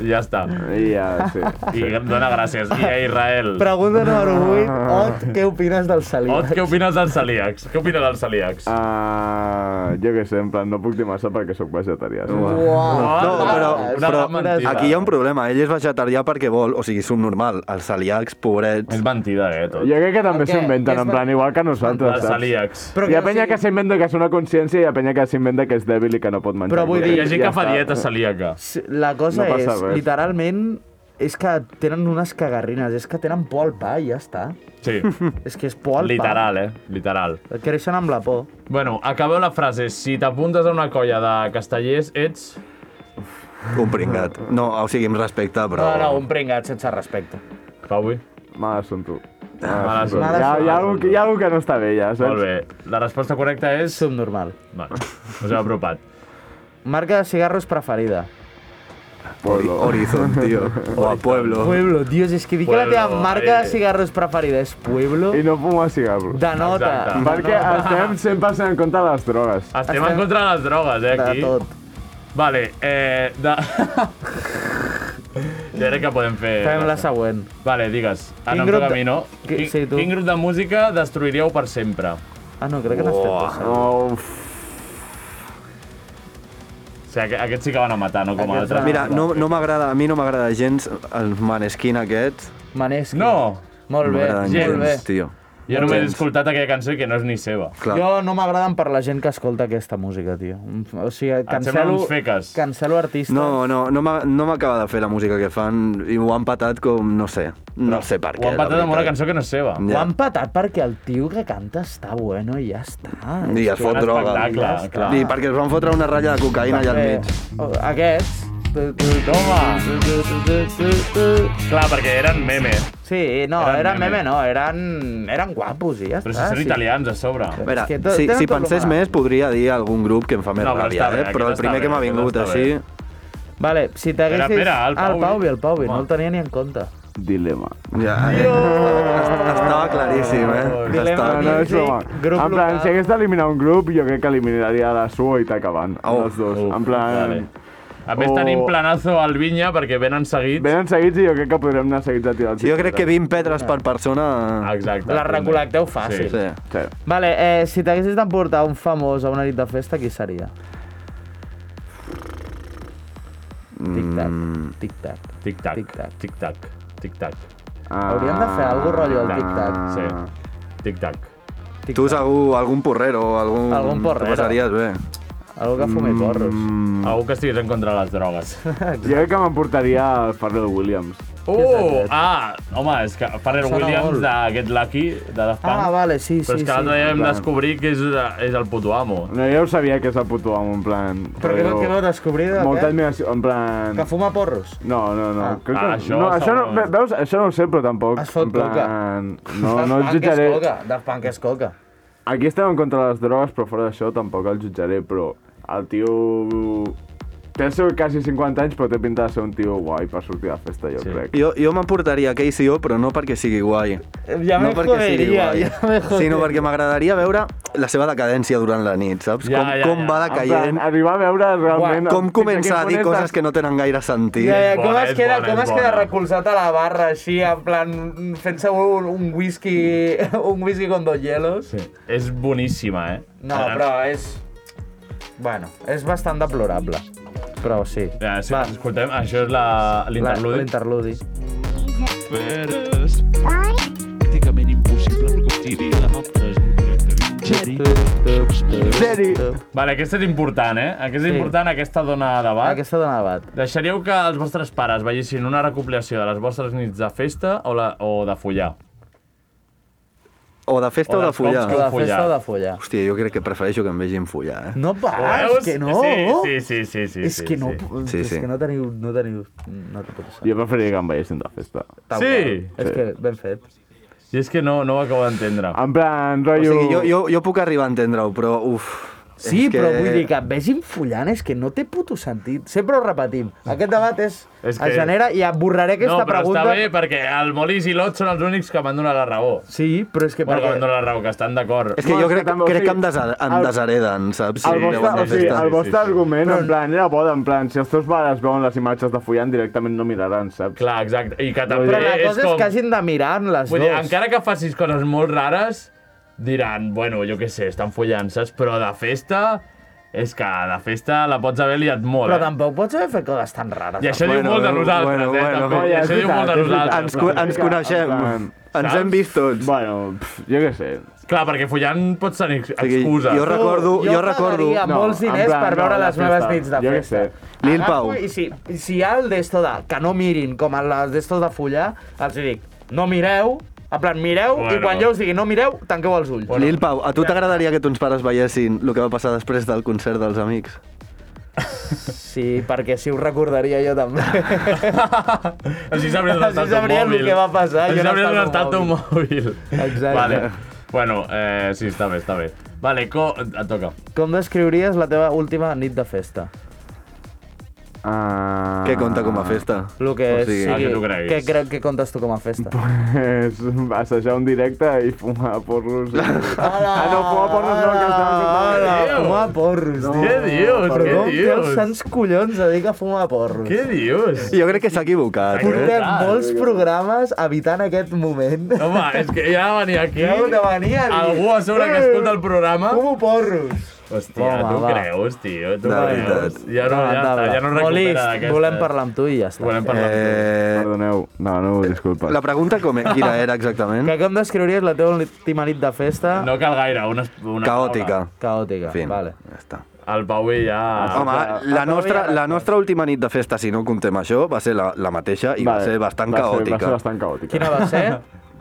S3: ja està.
S9: I ja, Ah, sí.
S3: I dona gràcies. I a Israel.
S4: Pregunta número 8. Ot, què opines del Salim?
S3: Ot, què opines dels celíacs? Què opines dels celíacs?
S4: Ah.
S9: Uh, jo què sé, en plan, no puc dir massa perquè sóc vegetarià. saps?
S4: Uau.
S8: no, però,
S3: Una
S8: però
S3: gran mentida.
S8: aquí hi ha un problema. Ell és vegetarià perquè vol, o sigui, subnormal. Els celíacs, pobrets...
S3: És mentida, eh, tot.
S9: Jo crec que també
S4: El què?
S9: s'inventen,
S4: Què
S9: en
S4: és-
S9: plan, igual que nosaltres,
S3: Els
S9: saps?
S3: celíacs.
S4: Però
S9: Hi ha
S4: que-
S9: penya que s'inventa que és una consciència i hi ha penya que s'inventa que és dèbil i que no pot menjar.
S4: Però vull
S3: Hi
S4: dir-
S3: ha gent que fa
S9: està.
S3: dieta celíaca.
S4: Sí, La cosa
S9: No
S4: és,
S9: passa res.
S4: literalment, és que tenen unes cagarrines, és que tenen por al pa i ja està.
S3: Sí,
S4: És que és por al
S3: literal, eh? Literal.
S4: pa. Creixen amb la por.
S3: Bueno, acabeu la frase. Si t'apuntes a una colla de castellers, ets...
S8: Un pringat. No, o sigui, amb respecte, però...
S4: No, no, un pringat sense respecte.
S3: Paui?
S9: Mal assumpte.
S4: Ah,
S3: Ah, Mal
S9: Mal assumpte.
S3: assumpte.
S9: Hi ha, hi, ha algú, que- hi ha algú que no està bé, ja,
S3: Molt
S9: saps?
S3: bé. La resposta correcta és...
S4: Subnormal.
S3: Vale, us heu apropat.
S4: Marca de cigarros preferida.
S9: Polo.
S8: Horizon, tio. O a Pueblo.
S4: Pueblo, dios, és que dic que la
S3: Pueblo,
S4: teva marca
S3: eh.
S4: de cigarros preferida és Pueblo.
S9: I no fumar cigarros.
S4: De nota.
S3: Exacte.
S9: Perquè estem 100% en contra de les drogues.
S3: Estem en contra de les drogues, eh,
S4: De
S3: aquí.
S4: tot.
S3: Vale, eh... De... Jo crec que podem fer...
S4: Fem la següent.
S3: Vale, digues. Ah, no,
S4: Quin
S3: em
S4: grup
S3: toca a
S4: de-
S3: mi, no?
S4: Qui-
S3: Quin,
S4: sí, tu.
S3: quin grup de música destruiríeu per sempre?
S4: Ah, no, crec que l'has fet tu. Sara.
S9: Oh, uf.
S3: O sigui, aqu- aquests sí que van a matar, no com
S4: Aquests
S3: altres.
S8: Mira, no, no m'agrada, a mi no m'agrada gens el manesquin aquest.
S4: Maneskin.
S3: No!
S4: eh. Molt
S8: No
S4: bé,
S8: m'agraden
S3: gens,
S4: molt bé.
S8: gens, tio.
S3: Jo només he
S8: Gens.
S3: escoltat aquella cançó i que no és ni seva.
S8: Clar.
S4: Jo no m'agraden per la gent que escolta aquesta música, tio. Mm, O sigui,
S3: semblen
S4: cancelo...
S3: uns feques.
S4: Cancelo artistes.
S8: No, no, no m'ha- no m'acaba de fer la música que fan i ho han patat com, no sé, no sé per
S3: Ho
S8: què.
S3: han patat
S8: la
S3: amb una
S8: veritat.
S3: cançó que no és seva.
S4: Ho
S8: Ja.
S4: han patat perquè el tio que canta està bueno i ja està.
S8: I es fot
S3: Un
S8: droga.
S3: espectacle,
S4: Ja
S3: clar.
S8: I perquè es van fotre una ratlla de cocaïna allà al
S4: Eh,
S8: mig.
S4: o- Aquests... Toma!
S3: Clar, perquè eren meme.
S4: Sí, no,
S3: Eren
S4: eren, eren
S3: meme.
S4: meme, no, eren, eren guapos i ja
S3: Però si
S4: està.
S3: són
S4: Ah, sí.
S3: italians, a sobre.
S8: A veure,
S4: És que tot-
S8: si,
S4: tenen
S8: si
S4: tot lo
S8: pensés
S4: malalt.
S8: més, podria dir algun grup que em fa més
S3: No, però
S8: ràbia,
S3: està bé,
S8: eh? però el
S3: aquest
S8: primer
S3: està
S8: que m'ha
S3: bé,
S8: vingut
S3: aquest està
S8: així...
S4: Vale, si t'haguessis...
S3: Espera, espera, el
S4: Ah, el
S3: Pau.
S4: Pauvi, el Pauvi, no
S3: Home.
S4: el tenia ni en compte.
S9: Dilema.
S8: Ja, eh? Estava claríssim, eh?
S4: Dilema
S9: No,
S8: Estava...
S9: no, és
S4: Music,
S9: broma.
S4: Ah, grup
S9: en plan,
S4: local.
S9: si hagués d'eliminar un grup, jo crec que eliminaria la Suo i Tacaban.
S8: Au.
S9: els dos.
S3: Uf,
S9: en plan...
S3: vale. A més,
S9: O-
S4: Oh.
S3: tenim planazo al Vinya perquè venen seguits.
S9: Venen seguits i jo crec que podrem anar seguits a tirar el
S8: Jo crec que 20 petres per persona...
S3: Exacte.
S4: La recol·lecteu fàcil.
S3: Sí.
S8: Sí.
S9: Sí.
S4: Vale, eh, si t'haguessis d'emportar un famós a una nit de festa, qui seria? Tic-tac,
S9: Mm.
S4: tic-tac.
S3: Tic-tac,
S4: Tic-tac.
S3: tic-tac, tic-tac.
S9: Ah,
S4: Hauríem de fer alguna cosa rotllo al tic-tac.
S3: Sí. Tic-tac.
S8: Tu segur, algun porrero o algun...
S4: Algun porrero.
S8: T'ho passaries bé.
S4: Algú que
S9: Mm.
S4: fumi porros.
S3: Algú que estigués en contra de les drogues.
S9: Jo crec que m'emportaria el Pharrell Williams.
S3: Uh! Ah! Home, és que Pharrell
S4: Sona
S3: Williams
S4: molt.
S3: de Get Lucky, de Daft Punk.
S4: Ah, vale, sí,
S3: Però
S4: sí,
S3: és que l'altre
S4: sí. Mm.
S3: dia vam
S9: clar.
S3: descobrir que és, és el puto amo.
S9: No, jo ho sabia que és el puto amo, en plan...
S4: Però què, què vau descobrir? de
S9: Molta
S4: què?
S9: admiració, en plan...
S4: eh? Que fuma porros?
S9: No, no, no.
S4: Ah.
S9: Crec que...
S3: Ah, això
S9: no,
S3: segur.
S9: això no, ve- veus, això no ho sé, però tampoc.
S4: Es fot
S9: en plan... No,
S4: Daft
S9: no et
S4: Punk és
S9: jutjaré.
S4: coca, Daft Punk és coca.
S9: Aquí estem en contra de les drogues, però fora d'això tampoc el jutjaré, però el tio... Té el seu quasi 50 anys, però té pinta de ser un tio guai per sortir a la festa, jo sí. crec.
S8: Jo, jo m'emportaria KCO, però no perquè sigui guai.
S4: Ja
S8: no
S4: me joderia, ja me joderia.
S8: Sinó perquè m'agradaria veure la seva decadència durant la nit, saps?
S4: Ja,
S8: com
S4: ja, ja.
S8: com va
S9: En plan,
S8: decaient,
S9: arribar a veure realment...
S8: com comença a dir coses que no tenen gaire sentit.
S4: Ja, ja, Eh, com
S3: Bona,
S4: es
S3: és
S4: queda,
S3: bona,
S4: com
S3: és
S4: es queda
S3: bona.
S4: recolzat a la barra, així, en plan, fent-se un, un whisky, un whisky con dos hielos. Sí.
S3: És boníssima, eh?
S4: No,
S3: Ara-
S4: però és... Bueno, és bastant deplorable. Però sí.
S3: Ja, Eh, sí,
S4: Va.
S3: escoltem, això és la-
S4: La-
S3: l'interludi.
S4: L'interludi.
S11: Veres. Pràcticament impossible reconstruir la nostra
S9: Seri.
S3: Vale, aquesta és important, eh? Aquesta és
S4: Sí.
S3: important, aquesta dona debat.
S4: Aquesta dona debat.
S3: Deixaríeu que els vostres pares veiessin una recopilació de les vostres nits de festa o, la, o de follar?
S8: O de festa o,
S3: O
S8: de
S3: dels cops
S8: follar.
S3: que heu O de festa follat. o de
S4: follar.
S8: Hòstia, jo crec que prefereixo que em vegin follar, eh?
S4: No pas,
S3: Ho veus?
S4: Ah, que no.
S3: Sí, sí, sí, sí, sí,
S4: és
S3: sí,
S4: que no,
S3: sí.
S8: Sí,
S4: és
S8: sí.
S4: que no teniu, no teniu, no te pot ser.
S9: Jo preferiria que em veiessin de festa.
S4: Tal
S3: Sí.
S4: qual. És que ben fet.
S3: I és que no, no ho acabo d'entendre.
S9: En plan,
S8: O
S9: rotllo...
S8: sigui, jo, jo, jo puc arribar a entendre-ho, però uf...
S4: Sí,
S8: és
S4: que... però vull dir que et vegin follant és que no té puto sentit. Sempre ho repetim. Aquest debat és,
S3: És
S4: és
S3: que-
S4: que... es genera i borraré
S3: No,
S4: aquesta
S3: però
S4: pregunta.
S3: està bé perquè el Molís i l'Ot són els únics que m'han donat la raó.
S4: Sí, però és que
S3: Bueno, que
S4: perquè...
S3: m'han donat la raó, que estan d'acord.
S8: És que
S9: No,
S8: jo
S9: és que
S8: crec,
S9: també, o
S8: crec
S9: sigui,
S8: que em, desa em
S9: el-
S8: deshereden, saps?
S9: El vostre,
S8: llavors
S9: o
S8: de
S9: sigui,
S8: festa.
S9: el vostre argument,
S4: Però-
S9: en plan, era bo, en plan, si els teus pares veuen les imatges de follant, directament no miraran, saps?
S3: Clar, exacte. I que també
S4: Però la
S3: és
S4: cosa és,
S3: com...
S4: que hagin de mirar en les
S3: Vull
S4: dues.
S3: dir, encara que facis coses molt rares, diran, bueno, jo què sé, estan follant, saps? Però de festa... És que de festa la pots haver liat molt,
S4: Però
S3: eh?
S4: tampoc pots haver fet coses tan rares.
S3: I això diu
S8: Bueno,
S3: molt de nosaltres,
S8: bueno,
S3: eh?
S8: bueno.
S3: També. I
S9: Ja, és
S3: això diu molt de
S9: veritat, és veritat.
S3: nosaltres.
S8: Ens, co- ens coneixem,
S9: En plan,
S8: ens hem vist tots.
S9: Bueno, pff, jo què sé.
S3: Clar, perquè follant pots tenir
S8: O sigui,
S3: excuses.
S8: jo recordo,
S4: jo
S8: jo, recordo...
S4: pagaria
S8: No.
S4: molts diners
S9: en plan,
S4: per veure
S9: no, la
S4: les meves
S9: festa.
S4: nits de
S9: Jo què
S4: festa.
S9: sé.
S8: Lil
S4: Agafo
S8: Pau.
S4: I si, i si hi ha el d'esto de que no mirin, com el d'esto de follar, els hi dic, no mireu, en plan, mireu, bueno.
S3: Bueno.
S4: i quan jo us digui no mireu, tanqueu els ulls.
S8: Lil Pau, a tu t'agradaria que tons pares veiessin el que va passar després del concert dels amics?
S4: Sí, perquè si ho recordaria jo també.
S3: Així sabries on
S4: Així
S3: està el teu
S4: sabrien
S3: mòbil.
S4: el que va passar
S3: Així
S4: i on
S3: sabries
S4: està el
S3: on està el teu
S4: meu
S3: mòbil.
S4: Exacte.
S3: Vale. Bueno, eh, sí, està bé, està bé. Vale, co... et toca.
S4: Com descriuries la teva última nit de festa?
S9: Ah,
S8: Què conta com a festa?
S4: Lo que
S8: O sigui,
S3: el que tu creguis.
S4: Què crec que comptes tu com a festa?
S9: És assajar un directe i fumar porros.
S4: Hola,
S9: ah, no, fumar porros no, que estàvem
S4: hola,
S3: Déu.
S4: fumar porros,
S3: No,
S4: tio.
S3: Què dius?
S4: Però
S3: Què
S4: com té els
S3: dius?
S4: sants collons a dir que fumar porros?
S3: Què dius?
S8: Jo crec que s'ha equivocat, eh?
S4: Portem
S3: Clar.
S4: molts programes evitant aquest moment.
S3: Home, és que ja venir aquí...
S4: Ja ho de venir a dir. "Eh,
S3: Algú a sobre que escolta el programa...
S4: Fumo porros.
S3: Hòstia,
S4: Home,
S3: tu
S4: va.
S3: creus, tio? Tu
S8: De
S3: creus?
S8: veritat.
S3: doncs, Ja no, ja, està, ja no
S4: Ah, Molist,
S3: recupera d'aquesta.
S4: volem parlar amb tu i ja està.
S3: Volem parlar amb tu.
S8: eh
S9: Perdoneu. No, no, disculpa.
S8: la pregunta com, e, quina era exactament?
S4: Que com descriuries la teva última nit de festa?
S3: No cal gaire, una... una
S8: Caòtica.
S4: Caòtica,
S8: Fin.
S4: vale.
S8: Ja està.
S3: paraula. El Pau i Ah, ja...
S8: Home, la nostra, la nostra última nit de festa, si no comptem això, va ser la, la mateixa i va ser bastant
S9: va Ser,
S8: caòtica.
S9: va ser bastant caòtica.
S4: Quina va ser?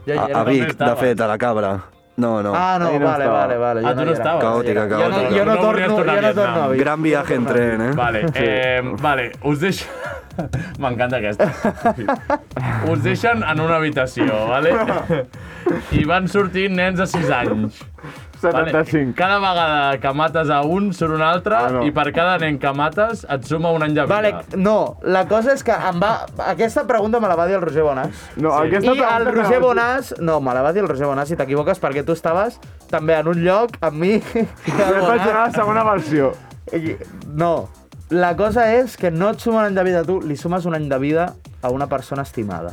S4: Ja hi
S8: A,
S4: era.
S8: a Vic, de
S3: estaves.
S8: fet, a la cabra. No, no.
S4: Ah, no,
S9: Ahí no
S4: vale,
S9: estava.
S4: vale, vale.
S3: Ah, tu
S4: jo no
S3: no
S4: hi era.
S3: estaves.
S8: Caòtica,
S4: Jo no,
S8: caòtica.
S4: jo no,
S3: No
S4: torno,
S3: volies tornar a
S4: jo no torno a
S3: Vietnam.
S4: Vic.
S8: Gran viatge en tren, eh?
S3: Vale, eh, vale, us deixo... M'encanta aquesta. Us deixen en una habitació, vale? I van sortir nens de 6 anys. Vale?
S9: 75.
S3: Cada vegada que mates a un, surt un altre,
S9: Ah, no.
S3: i per cada nen que mates et suma un any de vida.
S4: Vale, no, la cosa és que em va... Aquesta pregunta me la va dir el Roger Bonàs.
S9: No,
S3: Sí.
S9: aquesta
S4: I el
S9: pregunta
S4: Roger
S9: que-
S4: Bonàs... No, me la va dir el Roger Bonàs, si t'equivoques, perquè tu estaves també en un lloc, amb mi... i el
S9: Jo vaig
S4: Bonàs.
S9: anar a la segona versió.
S4: I- No. La cosa és que no et suma un any de vida a tu, li sumes un any de vida a una persona estimada.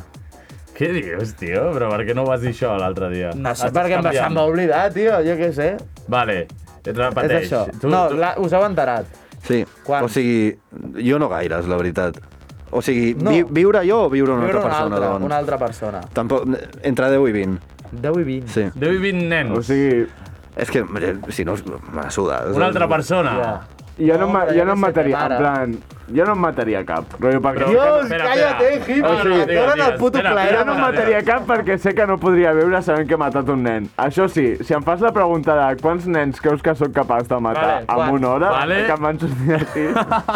S3: Què dius, tio? Però per què no vas dir això l'altre dia?
S4: No sé
S3: Estàs
S4: per què em va,
S3: canviant.
S4: se'm va oblidar, tio, jo què sé.
S3: Vale, et repeteix.
S4: És això.
S3: Tu,
S4: no,
S3: tu...
S4: la, us heu enterat.
S8: Sí.
S4: Quan?
S8: O sigui, jo no gaires, la veritat. O sigui,
S4: No.
S8: vi viure jo o viure una
S4: Viure
S8: altra
S4: una
S8: persona,
S4: altra,
S8: doncs?
S4: una altra persona.
S8: Tampoc, entre 10 i 20,
S4: 10 i 20.
S8: sí.
S3: 10 i 20 nens.
S9: O sigui,
S8: És que, eh, si no, m'ha sudat.
S3: Una altra persona.
S4: Ja.
S9: jo no, em-
S4: Hombre,
S9: jo no
S4: que
S9: em
S4: sé,
S9: mataria, en
S4: mare.
S9: plan... Jo no em mataria cap, rotllo, perquè...
S3: Però-
S4: Dios,
S3: Espera,
S4: cállate,
S3: espera.
S4: hippie,
S3: Ah, no,
S4: que
S3: tio,
S4: donen
S3: tio,
S4: el puto
S3: espera,
S4: plaer.
S3: espera,
S9: Jo no em mataria cap perquè sé que no podria viure sabent que he matat un nen. Això sí, si em fas la pregunta de quants nens creus que sóc capaç de matar
S4: Vale,
S9: en
S4: quants?
S9: una hora,
S3: Vale.
S9: que em van sortir així...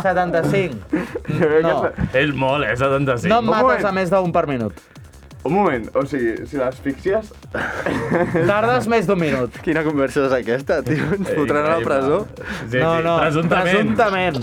S4: 75.
S3: Ah.
S9: jo crec
S4: No.
S9: que-
S3: És molt, és 75. eh,
S4: No em mates
S9: moment.
S4: a més d'un per minut.
S9: Un moment, o sigui, si l'asfixies...
S4: Tardes més d'un minut.
S8: Quina conversa és aquesta, tio? Ens fotran a la presó?
S4: Sí, no, no, presumptament.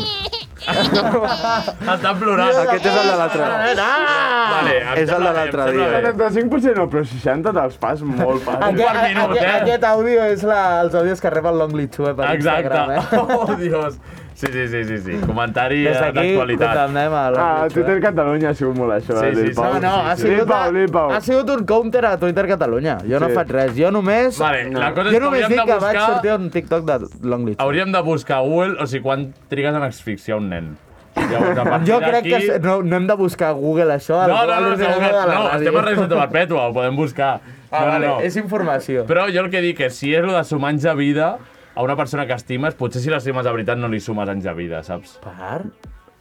S3: Estan plorant.
S8: Aquest és el de l'altre.
S4: ah.
S3: Vale, em
S8: És el de
S3: sembla bé,
S8: l'altre
S3: em sembla
S8: dia. eh.
S3: bé.
S9: 75% no, però 60 te'ls fas molt fàcil.
S4: Aquest, aquest, aquest àudio és la, els àudios que rep el Long Lichue per
S3: Exacte.
S4: Instagram, eh?
S3: Oh, Dios. Sí, sí, sí, sí, sí. Comentari eh,
S4: Des d'aquí
S3: d'actualitat.
S4: condemnem a Long
S9: Ah,
S4: Lichue.
S9: Twitter Catalunya ha sigut molt això,
S3: Sí,
S9: eh,
S3: sí,
S9: Lil
S3: sí.
S9: Pau.
S4: No, no, ha
S9: Lil
S4: sigut,
S9: Pau, Lil Pau.
S4: ha sigut un counter a Twitter Catalunya. Jo no
S9: Sí.
S4: faig res. Jo només...
S3: Vale, la cosa és
S4: jo
S3: que
S4: només
S3: hauríem
S4: dic
S3: de
S4: que vaig
S3: buscar-
S4: sortir un TikTok de Long Lichue.
S3: Hauríem de buscar a Google, o sigui, quan trigues en asfixiar un nen. Llavors, a partir
S4: Jo crec
S3: d'aquí-
S4: que no, no hem de buscar a Google això.
S3: No, no, no, no,
S4: l'ordinador
S3: no,
S4: de la
S3: no,
S4: ràdio.
S3: estem a Revisió Perpètua, ho podem buscar.
S4: Ah,
S3: no,
S4: vale,
S3: no.
S4: és informació.
S3: Però jo el que dic és, si és lo de sumar anys de vida a una persona que estimes, potser si l'estimes de veritat no li sumes anys de vida, saps?
S4: Per?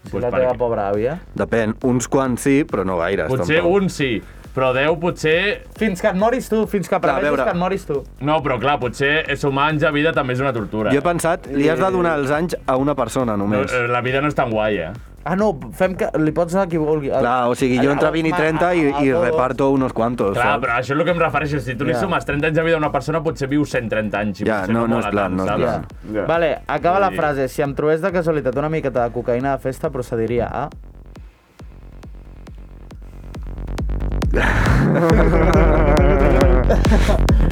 S3: Pues
S4: la
S3: per
S4: teva
S3: què?
S4: pobra àvia.
S8: Depèn, uns quants sí, però no gaires,
S3: Potser
S8: tampoc.
S3: un sí, però deu potser...
S4: Fins que et moris tu, fins que prevegis
S8: veure.
S4: que et moris tu.
S3: No, però clar, potser sumar anys de vida també és una tortura.
S8: Jo he pensat, li has de donar els anys a una persona
S3: No,
S8: només.
S3: eh, la vida no és tan guai, eh?
S4: Ah, no, fem que li pots donar qui vulgui.
S8: Clar, o sigui, jo entre 20 i 30 i, i
S4: A- a- a-
S8: reparto unos cuantos.
S3: Clar,
S8: saps?
S3: però això és el que em refereixo. Si tu li
S4: Ja.
S3: sumes 30 anys de vida a una persona, potser viu 130 anys. i
S8: Ja,
S3: potser
S8: no- no
S3: mola
S8: és plan,
S3: tant,
S8: no és
S3: saps?
S8: plan.
S9: Ja.
S4: Vale, acaba la
S3: Sí.
S4: frase. Si em trobés de casualitat una miqueta de cocaïna de festa, procediria a...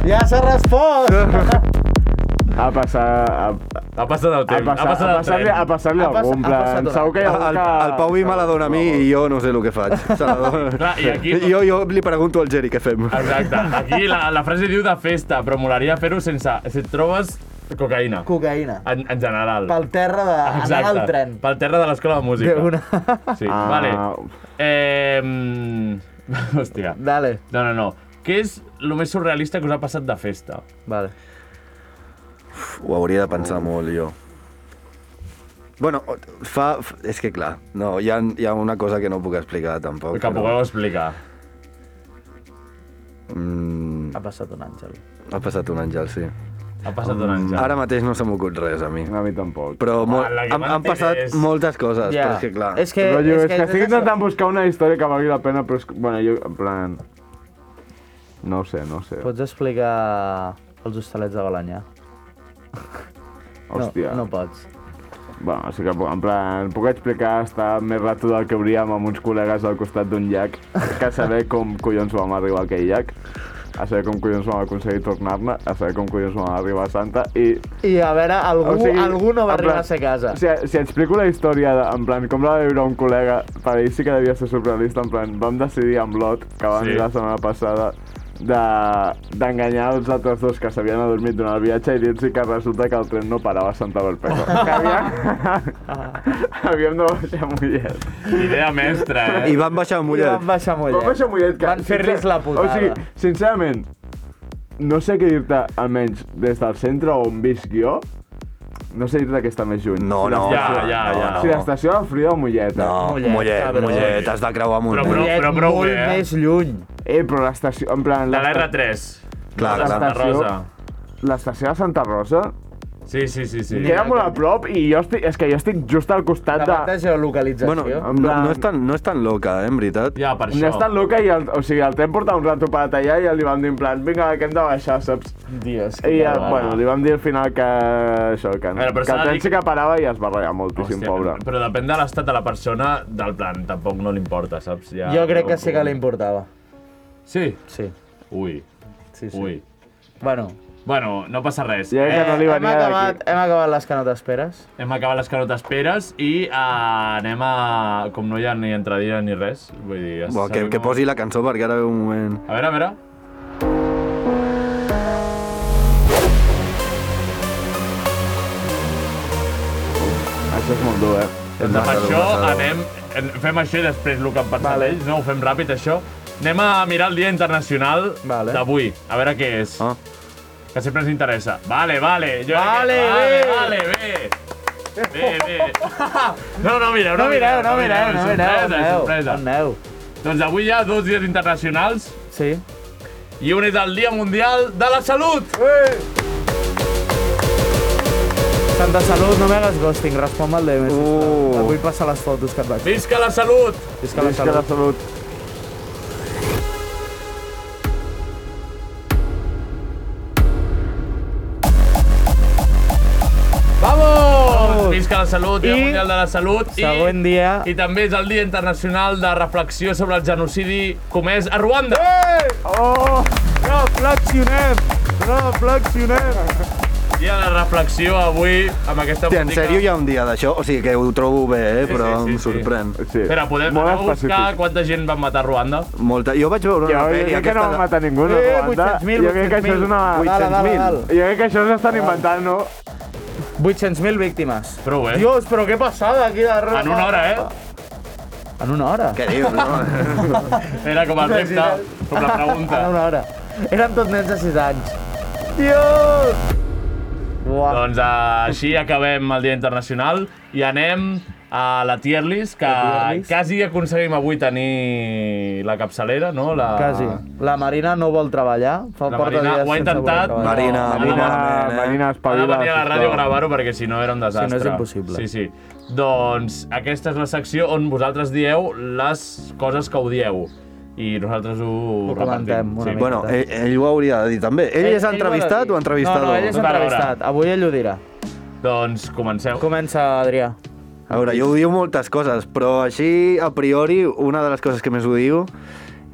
S4: ja s'ha respost!
S9: A passar... A,
S3: Ha passat el
S9: a
S3: temps.
S9: passar, a passar-li a passar
S4: Ha passat-
S9: algú, en
S4: ha
S9: plan,
S4: passat
S9: segur que hi ha algú
S8: El,
S9: que...
S8: el Pau Vi me la dona a mi i jo no sé el que faig. Se la dona.
S3: Clar, i aquí-
S8: Jo, jo li pregunto al Geri què fem.
S3: Exacte. Aquí la, la frase diu de festa, però molaria fer-ho sense... Si et trobes cocaïna,
S4: Cocaïna.
S3: en, en general.
S4: Pel terra de... Exacte.
S3: Exacte.
S4: al tren.
S3: Pel terra de l'escola de música.
S4: De una...
S3: Sí,
S9: Ah.
S3: vale. Eh... mm, Hòstia.
S4: Dale,
S3: No, no, no. Què és el més surrealista que us ha passat de festa?
S4: vale.
S8: Ho hauria de pensar molt, jo. Bueno, fa... f- És que clar, no, hi ha, hi ha una cosa que no puc explicar, tampoc.
S3: Que
S8: però-
S3: pugueu explicar.
S8: Mm,
S4: Ha passat un àngel.
S8: ha passat un àngel, sí.
S3: Ha passat un àngel.
S8: Mm. Ara mateix no se m'ha ocut res a mi.
S9: A mi tampoc.
S8: Però
S3: Home,
S8: molt,
S3: la que
S8: han, han passat
S3: mentiders.
S8: moltes coses, yeah. però és que clar...
S4: Eh, És que,
S9: Rotllo, és, que, estic
S4: és això.
S9: intentant buscar una història que valgui la pena, però és que, bueno, jo, en plan... No ho sé, no ho sé.
S4: Pots explicar els hostalets de Balanyà?
S9: Hòstia.
S4: No, no pots.
S9: Bueno, sí que puc- en plan, puc explicar estar més rato del que hauríem amb uns col·legues al costat d'un llac que saber com collons vam arribar a aquell llac, a saber com collons vam aconseguir tornar-ne, a saber com collons vam arribar a Santa i...
S4: I a veure, algú, algú no va
S9: en
S4: arribar
S9: plan,
S4: a ser a casa.
S9: Si, si explico la història, de, en plan, com la va viure un col·lega, per ell sí que devia ser surrealista, en plan, vam decidir amb l'Ot, que va
S3: Sí.
S9: venir la setmana passada, de- d'enganyar els altres dos que s'havien adormit durant el viatge i dir-los que resulta que el tren no parava a Santa Barpeca. Que
S4: Ah.
S9: havíem, havíem de baixar a Mollet.
S3: Idea mestra, eh?
S8: I van
S4: I
S8: baixar a
S4: van
S8: Mollet.
S4: baixar a
S9: Vam
S4: Mollet.
S9: baixar a Mollet. Que,
S4: Van fer-los la putada.
S9: O sigui, sincerament, no sé què dir-te, almenys des del centre on visc jo, no sé dir-te que està més lluny.
S8: No, no,
S3: Ja,
S8: no,
S3: ja,
S8: no,
S3: ja.
S9: Si l'estació de Frida o Mollet.
S4: Mollet,
S8: No, Mollet, Mollet,
S4: cabró.
S8: Mollet has de creuar amunt.
S3: Però, però-
S4: Mollet
S3: però prou
S4: molt
S3: bé, eh?
S4: més lluny.
S9: Eh, però l'estació... En plan...
S3: De
S9: l'esta-
S3: l'R3.
S8: Clar,
S3: de Santa
S9: clar.
S3: Rosa.
S9: L'estació de Santa Rosa
S3: Sí, sí, sí, sí.
S9: queda molt a prop i jo estic, és que jo estic just al
S4: La
S9: costat
S4: part
S9: de...
S4: de geolocalització.
S8: Bueno,
S4: Bueno,
S8: no,
S9: En plan-
S8: no, és tan, no és tan loca, eh, en veritat.
S3: Ja, per
S9: No
S3: això.
S9: és tan loca i el, o sigui, el tren portava un rato parat allà i li vam dir en plan, vinga, que hem de baixar, saps?
S4: Dios,
S9: I el,
S4: barbara.
S9: bueno, li vam dir al final que això, que,
S3: veure, però
S9: que
S3: s'ha de
S9: el
S3: dir
S9: tren
S3: que-
S9: sí que parava i es va ratllar moltíssim,
S3: Hòstia,
S9: pobre.
S3: Però depèn de l'estat de la persona, del plan, tampoc no li importa, saps? Ja,
S4: jo crec que sí que li importava.
S3: Sí?
S4: Sí,
S3: Ui,
S4: sí, sí.
S3: ui.
S4: Bueno,
S3: Bueno, no passa res.
S9: Jo crec
S8: eh.
S9: que no li
S4: Eh, hem,
S9: venia
S4: acabat,
S9: d'aquí.
S4: hem acabat les que no t'esperes.
S3: Hem acabat les que no t'esperes i uh, anem a... Com no hi ha ni entradilla ni res, vull dir... ja
S8: Buah, que,
S3: sabem
S8: que
S3: on-
S8: posi la cançó perquè ara ve un moment...
S3: A veure, a veure.
S9: Això és molt dur, eh?
S3: Doncs amb
S8: massa,
S3: això
S8: massa.
S3: anem... en- Fem això i després el que em pensava vale. ells, no? Ho fem ràpid, això. Anem a mirar el Dia Internacional
S4: Vale.
S3: d'avui, a veure què és.
S8: Ah.
S3: Que sempre ens interessa. Vale, vale. Jo
S4: Vale, bé.
S3: vale, vale, bé. Bé, bé. No, no mireu,
S4: No mireu, no mireu, no mireu, on
S3: Sorpresa,
S4: aneu,
S3: sorpresa.
S4: on aneu.
S3: Doncs avui hi ha dos dies internacionals
S4: Sí.
S3: i un és el Dia Mundial de la Salut.
S4: Santa Salut, no me hagas ghosting, respon-me al DM.
S8: Uh.
S4: Uh. Vull passar les fotos que et vaig.
S3: Visca la salut!
S4: Visca la
S9: És que la
S4: salut.
S9: salut...
S3: Visca la salut, Dia Mundial de la Salut.
S4: Següent dia...
S3: I també és el Dia Internacional de Reflexió sobre el genocidi comès a Ruanda.
S9: Oh! Reflexionem! Reflexionem!
S3: Dia de reflexió avui amb aquesta
S8: Hòstia, en
S3: música.
S8: sèrio hi ha un dia d'això? O sigui, que ho trobo bé, eh? però
S3: sí,
S8: em sorprèn.
S9: Sí.
S3: Espera, podem anar a buscar quanta gent van matar a Ruanda?
S8: Molta... Jo vaig veure una
S9: Jo
S8: pel·li...
S9: crec que no
S8: aquesta
S9: va
S8: de-
S9: matar ningú, no,
S4: Eh,
S9: Ruanda.
S4: 800.000,
S9: Jo crec que això és una...
S4: 800.000.
S9: Jo crec que això s'estan inventant, no?
S4: 800.000 víctimes.
S3: Prou, eh?
S4: Dios, però què passada aquí darrere.
S3: En una hora, eh?
S4: En una hora?
S8: Què dius, no?
S3: Era com el repte, com la pregunta.
S4: en una hora. Érem tots nens de 6 anys. Dios! Uah.
S3: Doncs uh, així acabem el Dia Internacional i anem a la tier list, que quasi aconseguim avui tenir la capçalera, no? La...
S4: Quasi. La Marina no vol treballar. Fa
S3: La
S4: porta
S3: Marina
S4: dies
S3: ho ha
S4: sense voler
S3: intentat,
S4: treballar.
S8: Marina,
S9: Marina,
S3: eh,
S9: Marina
S3: Ha de
S9: espavila.
S3: venir a la ràdio a
S9: Ah, sisplau.
S3: gravar-ho perquè si no era un desastre.
S4: Si no és impossible.
S3: Sí, sí. Doncs aquesta és la secció on vosaltres dieu les coses que odieu. I nosaltres ho,
S4: Ho comentem una
S3: repartim.
S4: mica.
S8: Bueno, ell, ell ho hauria de dir també. Ell, és
S4: ho ha de
S8: entrevistat
S4: dir.
S8: o entrevistador?
S4: No, no, ell és
S3: Tota l'hora.
S4: entrevistat. Avui ell ho dirà.
S3: Sí. Doncs comenceu.
S4: Comença, Adrià.
S8: A veure, jo odio moltes coses, però així, a priori, una de les coses que més odio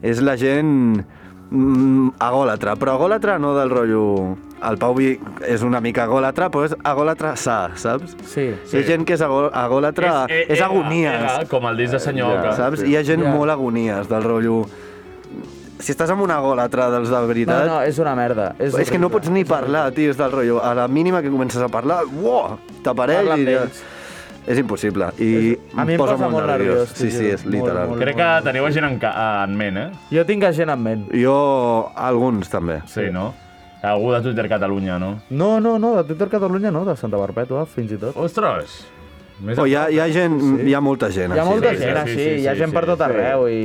S8: és la gent mm, agòlatra, però agòlatra no del rotllo... El Pau Vi és una mica agòlatra, però és agòlatra sa, saps?
S4: Sí. eh,
S8: Sí. Hi ha gent que és agò- agòlatra... És, és, és
S3: era,
S8: agonies.
S3: eh, era, com el disc de senyor
S9: Ja,
S3: Oca.
S8: Saps? Hi ha gent
S4: Ja.
S8: molt agonies del rotllo... Si estàs amb una golatra dels de
S4: No,
S8: veritat...
S4: no, és una merda. És,
S8: és, que no pots ni parlar, tio, és del rotllo. A la mínima que comences a parlar, uah, t'apareix
S4: Parla
S8: i...
S4: amb
S8: Ja...
S4: ells.
S8: És impossible. I
S4: a mi em posa molt nerviós,
S8: Sí,
S4: tio.
S8: sí, és
S4: Molt,
S8: literal.
S4: molt.
S3: Crec que teniu gent en, ca- en ment, eh?
S4: Jo tinc a gent en ment.
S8: Jo, alguns també.
S3: Sí, no? Algú de Twitter Catalunya, no?
S4: No, no, no, de Twitter Catalunya no, de Santa Perpètua, fins i tot.
S3: Ostres! Més
S4: Oh,
S8: O Oh, hi ha, hi ha gent, hi ha molta gent.
S4: Hi ha
S8: així,
S4: molta
S8: de-
S4: gent
S3: sí,
S4: així,
S3: sí,
S4: hi ha
S3: sí,
S4: gent
S3: sí,
S4: per tot
S3: sí.
S4: arreu i...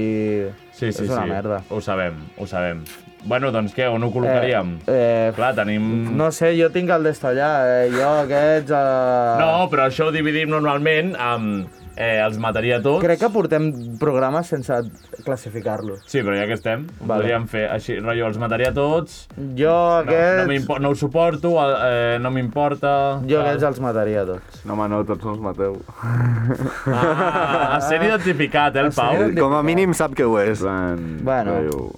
S3: Sí, sí,
S4: és una
S3: sí.
S4: merda.
S3: Ho sabem, ho sabem. Bueno, doncs què, on ho col·locaríem?
S4: Eh, eh,
S3: Clar, tenim...
S4: No sé, jo tinc el d'Estallà, eh? jo aquests... Eh...
S3: No, però això ho dividim normalment amb... Eh, els mataria a tots.
S4: Crec que portem programes sense classificar-los.
S3: Sí, però ja que estem,
S4: Vale.
S3: vale. podríem fer així, rotllo, els mataria a tots,
S4: Jo
S3: no, no,
S4: aquests...
S3: m'impo- no ho suporto, eh, no m'importa...
S4: jo
S3: tal.
S4: aquests els mataria a tots.
S9: No, home, no, tots no els mateu.
S3: Ah, has sent identificat, eh, el Pau?
S8: Com a mínim sap que ho és.
S9: Plan,
S4: Bueno.
S9: rotllo-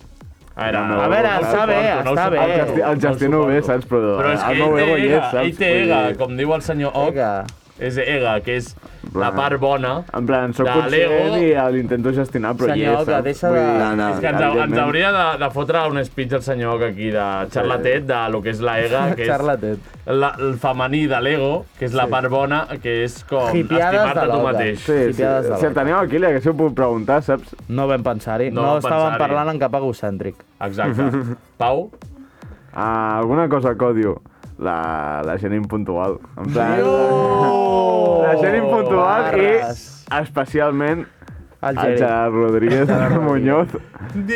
S3: A veure,
S9: No, no,
S3: a veure,
S9: no
S3: està bé, està bé.
S9: El, gesti, el Justin ho ve, saps? Però,
S3: Però és que
S9: el meu ego
S3: ell té
S9: hi és,
S3: ega,
S9: saps?
S3: ell té
S9: Vull
S3: ega,
S9: dir,
S3: com diu el senyor Oc,
S4: Vinga.
S3: és ega, que és la
S9: Clar.
S3: part bona.
S9: En plan, soc
S3: de
S9: conscient
S3: l'ego.
S9: i l'intento gestionar, però hi
S4: Senyor,
S9: és,
S4: que
S9: saps?
S4: deixa
S9: Vull
S4: de-
S9: dir,
S8: No, no.
S3: És que ens,
S9: evidentment.
S3: ens hauria de, de fotre un speech el senyor Oc aquí de xarlatet, de lo que és la ega, que és
S4: Charlatet.
S3: la, el femení de l'ego, que és la part bona, que és com
S4: Hipiades
S3: estimar-te
S4: de
S3: tu
S4: l'oca.
S3: mateix.
S9: Sí, sí.
S4: Xipiades de
S9: Si el
S4: l'oca.
S9: teniu aquí, li haguéssiu pogut preguntar, saps?
S4: No vam pensar-hi,
S3: No
S4: no, no
S3: vam
S4: estàvem
S3: pensar-hi.
S4: parlant en cap egocèntric.
S3: Exacte. Pau?
S9: Ah, alguna cosa que odio. La, la gent impuntual. En plan, la gent impuntual
S4: Barres.
S9: i especialment
S4: El
S9: el
S4: Geri.
S9: Gerard Rodríguez Muñoz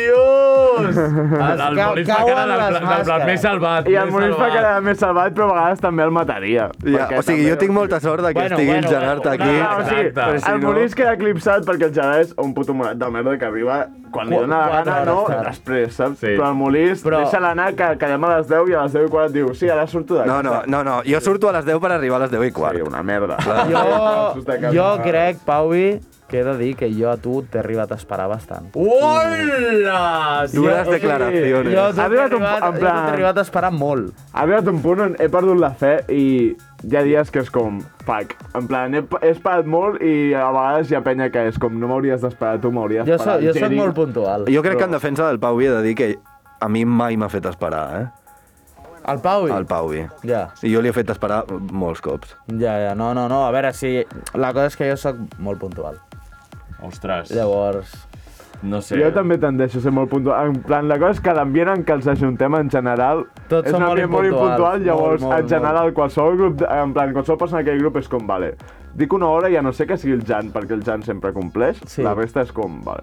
S3: Dios! El, el
S4: Cau-
S3: Molins fa
S4: cauen
S3: cara del, pla-
S4: les
S3: del, del
S4: màscares.
S3: més salvat.
S9: i el
S3: més
S9: Molins fa
S3: salvat.
S9: quedar més salvat però a vegades també el mataria.
S8: Ja,
S9: perquè
S8: o sigui, jo
S9: també-
S8: tinc molta sort de que
S4: Bueno,
S8: estigui
S4: bueno,
S8: el Gerard
S4: bueno.
S8: aquí.
S9: Ah, o sigui,
S3: Exacte. Però
S8: si
S9: el
S8: no-
S9: Molins queda eclipsat perquè el Gerard és un puto morat de merda que arriba quan li
S4: Qu-
S9: dóna la
S4: quatre
S9: gana, no,
S4: hores tard.
S9: després, saps?
S3: Sí.
S9: Però el Molins
S4: Però-
S9: deixa l'anar que quedem a les 10 i a les 10 i 4 diu sí, ara surto d'aquí.
S8: No, no, no, no, jo surto a les 10 per arribar a les 10 i quart.
S9: Sí, una merda.
S4: Jo,
S9: Surts de casa.
S4: jo crec, Pauvi, que he de dir que jo a tu t'he arribat a esperar bastant.
S3: Hola!
S8: Dures declaracions.
S4: Jo a tu t'he
S9: Ha arribat un-
S4: arribat,
S9: en
S4: jo
S9: plan-
S4: t'he arribat a esperar molt.
S9: Ha arribat un punt on he perdut la fe i hi ha dies que és com, fuck, en plan, he, he esperat molt i a vegades hi ha penya que és com, no m'hauries d'esperar tu, m'hauries
S4: Jo soc,
S9: d'esperar.
S4: jo soc molt puntual.
S8: Jo crec que en defensa del Pau Vi he de dir que a mi mai m'ha fet esperar, eh?
S4: El Pauvi?
S8: El Pau Vi.
S4: Ja,
S8: I jo li he fet esperar molts cops.
S4: ja, ja. No, no, no. A veure, si... La cosa és que jo sóc molt puntual.
S3: Ostres,
S4: Llavors...
S3: no sé.
S9: Jo també tendeixo a ser molt puntual. En plan, la cosa és que l'ambient en què els ajuntem en general
S4: Tots
S9: és
S4: som
S9: un
S4: molt
S9: ambient molt
S4: impuntuals.
S9: impuntual, llavors
S4: Molt, molt,
S9: en general qualsevol grup, de- en plan, qualsevol persona d'aquell grup és com, vale, dic una hora i a no sé que sigui el Jan, perquè el Jan sempre compleix,
S4: Sí.
S9: la resta és com, vale.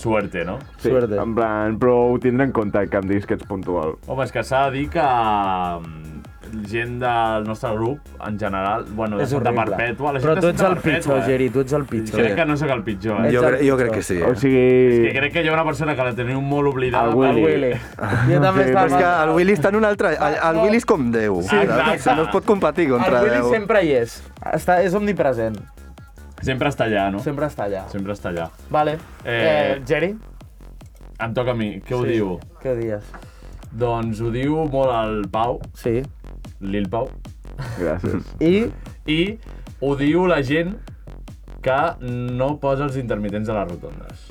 S3: Suerte, no?
S9: Sí,
S4: Suerte.
S9: en plan, però ho tindré en compte que em diguis que ets puntual.
S3: Home, és que s'ha de dir que... mm, gent del nostre grup, en general, bueno, de
S4: És
S3: Santa
S4: horrible.
S3: Perpètua... La gent
S4: Però
S3: de
S4: tu ets
S3: Santa
S4: el
S3: Perpètua,
S4: pitjor,
S3: eh?
S4: Geri, tu ets el pitjor.
S3: Crec que no sóc el pitjor, eh?
S8: Jo, cre jo crec que sí.
S9: O sigui...
S3: És que crec que hi ha una persona que la teniu molt oblidada.
S9: El Willy. El Willy.
S4: Jo també
S8: Però és que el Willy està en un altre... El, el Willy és com Déu.
S4: Sí.
S8: saps?
S3: Exacte.
S8: No es pot competir contra
S4: El Willy
S8: Déu.
S4: sempre hi és. Està, és omnipresent.
S3: Sempre està allà, no?
S4: Sempre està allà.
S3: Sempre està allà.
S4: Vale.
S3: Eh,
S4: Eh, Geri?
S3: Em toca a mi. Què ho
S4: Sí.
S3: diu?
S4: Què dies?
S3: Doncs ho diu molt el Pau.
S4: Sí.
S3: Lil Pau.
S9: Gràcies.
S4: I?
S3: I ho diu la gent que no posa els intermitents a les rotondes.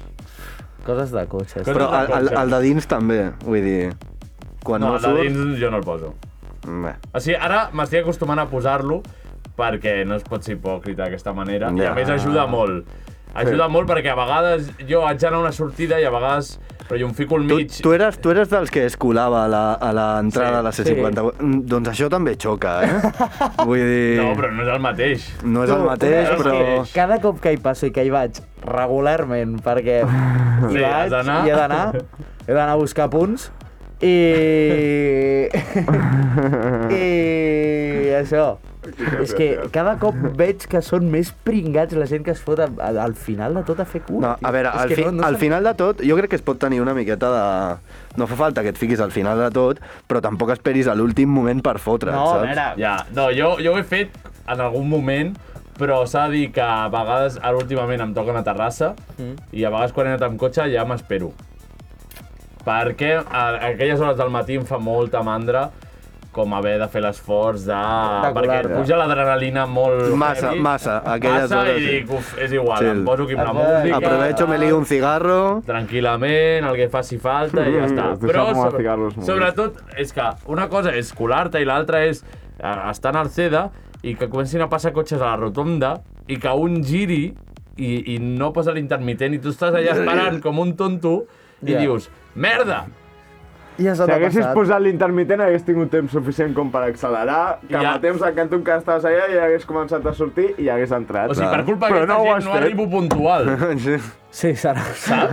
S4: Coses de cotxes.
S3: Coses
S8: Però
S3: de
S8: el, el,
S3: cotxes.
S8: el de dins també, vull dir... Quan
S3: no,
S8: no,
S3: el de
S8: surt...
S3: dins jo no el poso.
S8: Bé.
S3: O sigui, ara m'estic acostumant a posar-lo perquè no es pot ser hipòcrita d'aquesta manera. I
S8: Ja.
S3: a més ajuda molt. Ajuda molt perquè a vegades jo haig d'anar a una sortida i a vegades però jo em fico al
S8: Tu,
S3: mig.
S8: tu, eres, tu eres dels que es colava a la- a l'entrada de la C-50. Mm, Doncs això també xoca, eh? Vull dir...
S3: No, però no és el mateix.
S8: No és el mateix,
S3: és
S8: però...
S3: que-
S4: Cada cop que hi passo i que hi vaig regularment, perquè hi
S3: Sí, has
S4: vaig
S3: d'anar.
S4: i he d'anar, he d'anar a buscar punts, i... I això. És que cada cop veig que són més pringats la gent que es fot al, al final de tot a fer cul.
S8: No,
S4: tio.
S8: a veure,
S4: És
S8: al,
S4: que
S8: fi,
S4: no- no
S8: al
S4: sé-
S8: final de tot, jo crec que es pot tenir una miqueta de... No fa falta que et fiquis al final de tot, però tampoc esperis a l'últim moment per fotre,
S4: No, a
S8: saps?
S4: veure,
S3: Ja, no, jo, jo ho he fet en algun moment, però s'ha de dir que a vegades, ara últimament em toca una terrassa mm. i a vegades quan he anat amb cotxe ja m'espero. Perquè a a aquelles hores del matí em fa molta mandra com haver de fer l'esforç de...
S4: De
S3: perquè
S4: colar-te.
S3: puja l'adrenalina molt...
S8: Massa,
S3: heavy.
S8: massa, aquelles
S3: massa i
S8: hores, sí.
S3: dic, uf, és igual,
S8: Chill.
S3: em poso aquí amb la
S4: Ah, bueno.
S3: música...
S8: Aprovecho, me lío un cigarro...
S3: tranquil·lament, el que faci falta i ja està.
S9: Mm,
S3: Però
S9: deixar com a
S3: sobre,
S9: ficar-los molt.
S3: sobretot és que una cosa és colar-te i l'altra és eh, estar en el CEDA i que comencin a passar cotxes a la rotonda i que un giri i, i no posa l'intermitent i tu estàs allà esperant com un tonto i
S4: Ja.
S3: dius, merda!
S4: Ja se
S9: Si
S4: t'ha
S9: haguessis
S4: passat.
S9: posat l'intermitent, hagués tingut temps suficient com per accelerar, que
S3: Ja.
S9: amb el temps en cantum que estaves allà ja hagués començat a sortir i hagués entrat.
S3: O sigui, per culpa
S9: Però
S3: d'aquesta
S9: no ho has
S3: gent no
S9: fet.
S3: arribo puntual.
S8: Sí.
S4: Sí, serà,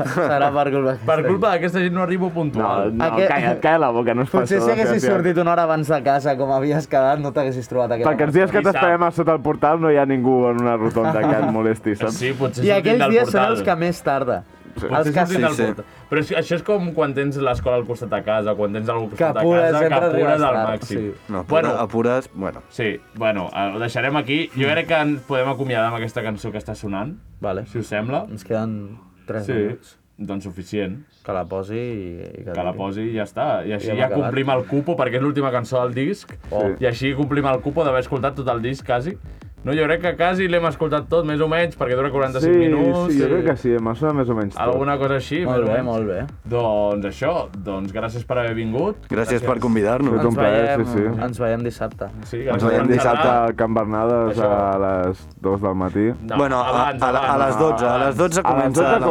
S4: serà per culpa.
S3: Per culpa d'aquesta gent no arribo
S9: No,
S3: puntual.
S9: no,
S4: Ah, Aquest-
S9: calla, calla la boca, no es faci
S4: Potser si haguessis
S9: gràcia.
S4: sortit una hora abans de casa, com havies quedat, no t'haguessis trobat aquesta
S9: Perquè els dies que
S3: Qui sap?
S9: t'esperem a sota el portal no hi ha ningú en una rotonda que et molesti, saps?
S3: Sí, potser
S4: I
S3: sortim
S4: aquells
S3: del
S4: dies són
S3: portal.
S4: els que més tarda.
S3: Els
S4: Els que
S3: casos sí,
S8: sí.
S3: sí. Però és, això és com quan tens l'escola al costat de casa, quan tens algú al costat
S4: apures,
S3: de casa,
S4: sempre
S3: que apures
S4: arribes
S3: al
S4: tard,
S3: màxim.
S4: sí.
S8: No, apura,
S3: bueno,
S8: bueno. apures... Bueno,
S3: sí, bueno, eh, ho deixarem aquí. Jo crec que ens podem acomiadar amb aquesta cançó que està sonant,
S4: Vale.
S3: si us sembla.
S4: Ens queden 3
S3: Sí,
S4: minuts.
S3: doncs suficient.
S4: Que la posi i, i
S3: Que la
S4: duri.
S3: posi i ja està. I així
S4: Ja hem
S3: ja,
S4: acabat.
S3: complim el cupo, perquè és l'última cançó del disc.
S4: Oh.
S3: I així complim el cupo d'haver escoltat tot el disc, quasi. No, jo crec que quasi l'hem escoltat tot, més o menys, perquè dura 45
S9: sí,
S3: minuts. eh,
S9: sí, jo crec que sí, em sona més o menys tot.
S3: Alguna cosa així,
S4: Molt
S3: més o
S4: bé,
S3: menys.
S4: molt bé.
S3: Doncs això, doncs gràcies per haver vingut.
S8: gràcies, per convidar-nos.
S9: Tot un plaer, sí, sí.
S4: ens veiem dissabte.
S3: Sí,
S8: Ens
S3: gràcies
S8: veiem
S3: per
S8: dissabte.
S3: xerrar.
S9: A Can Bernades
S3: Això.
S9: a les 2 del matí.
S3: No,
S8: bueno, a,
S3: abans,
S8: a, la- a, les
S3: abans.
S8: 12, a les 12
S9: A les
S8: comença...
S9: 12
S8: la-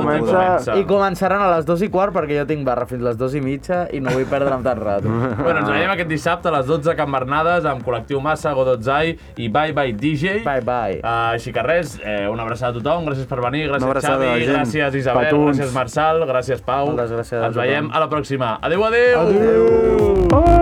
S9: comença-
S4: I començaran a les 2 i quart perquè jo tinc barra fins les 2 i mitja i no vull perdre'm tant rato.
S3: Bueno, ens veiem aquest dissabte a les 12 a Can Bernades amb Col·lectiu Massa, Godotzai i Bye Bye DJ.
S4: Bye, bye.
S3: Uh, així que res, eh, una abraçada a tothom, gràcies per venir, gràcies
S8: Una abraçada,
S3: Xavi,
S8: gent.
S3: gràcies Isabel,
S9: Petons.
S3: gràcies Marçal, gràcies Pau.
S4: Moltes gràcies a
S3: Ens veiem
S4: tothom.
S3: a la pròxima. Adéu, adéu! adéu.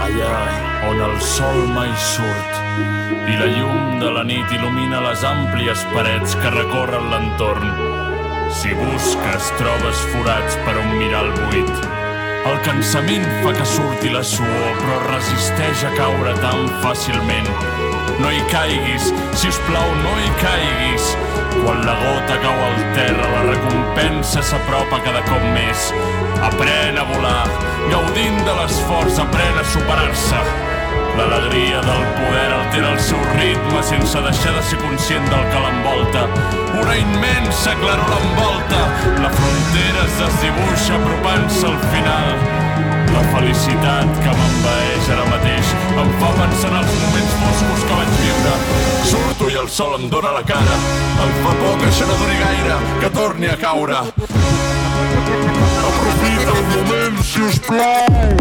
S8: allà on el sol mai surt i la llum de la nit il·lumina les àmplies parets que recorren l'entorn. Si busques, trobes forats per on mirar el buit. El cansament fa que surti la suor, però resisteix a caure tan fàcilment. No hi caiguis, si us plau, no hi caiguis. Quan la gota cau al terra, la recompensa s'apropa cada cop més. Aprèn a volar, gaudint de l'esforç, aprèn a superar-se. L'alegria del poder altera el seu ritme sense deixar de ser conscient del que l'envolta. Una immensa claror l'envolta, la frontera es desdibuixa apropant-se al final. La felicitat que m'envaeix ara mateix em fa pensar en els moments foscos que vaig viure. Surto i el sol em dóna la cara, em fa por que això no duri gaire, que torni a caure. Aprofita el moment, si us plau!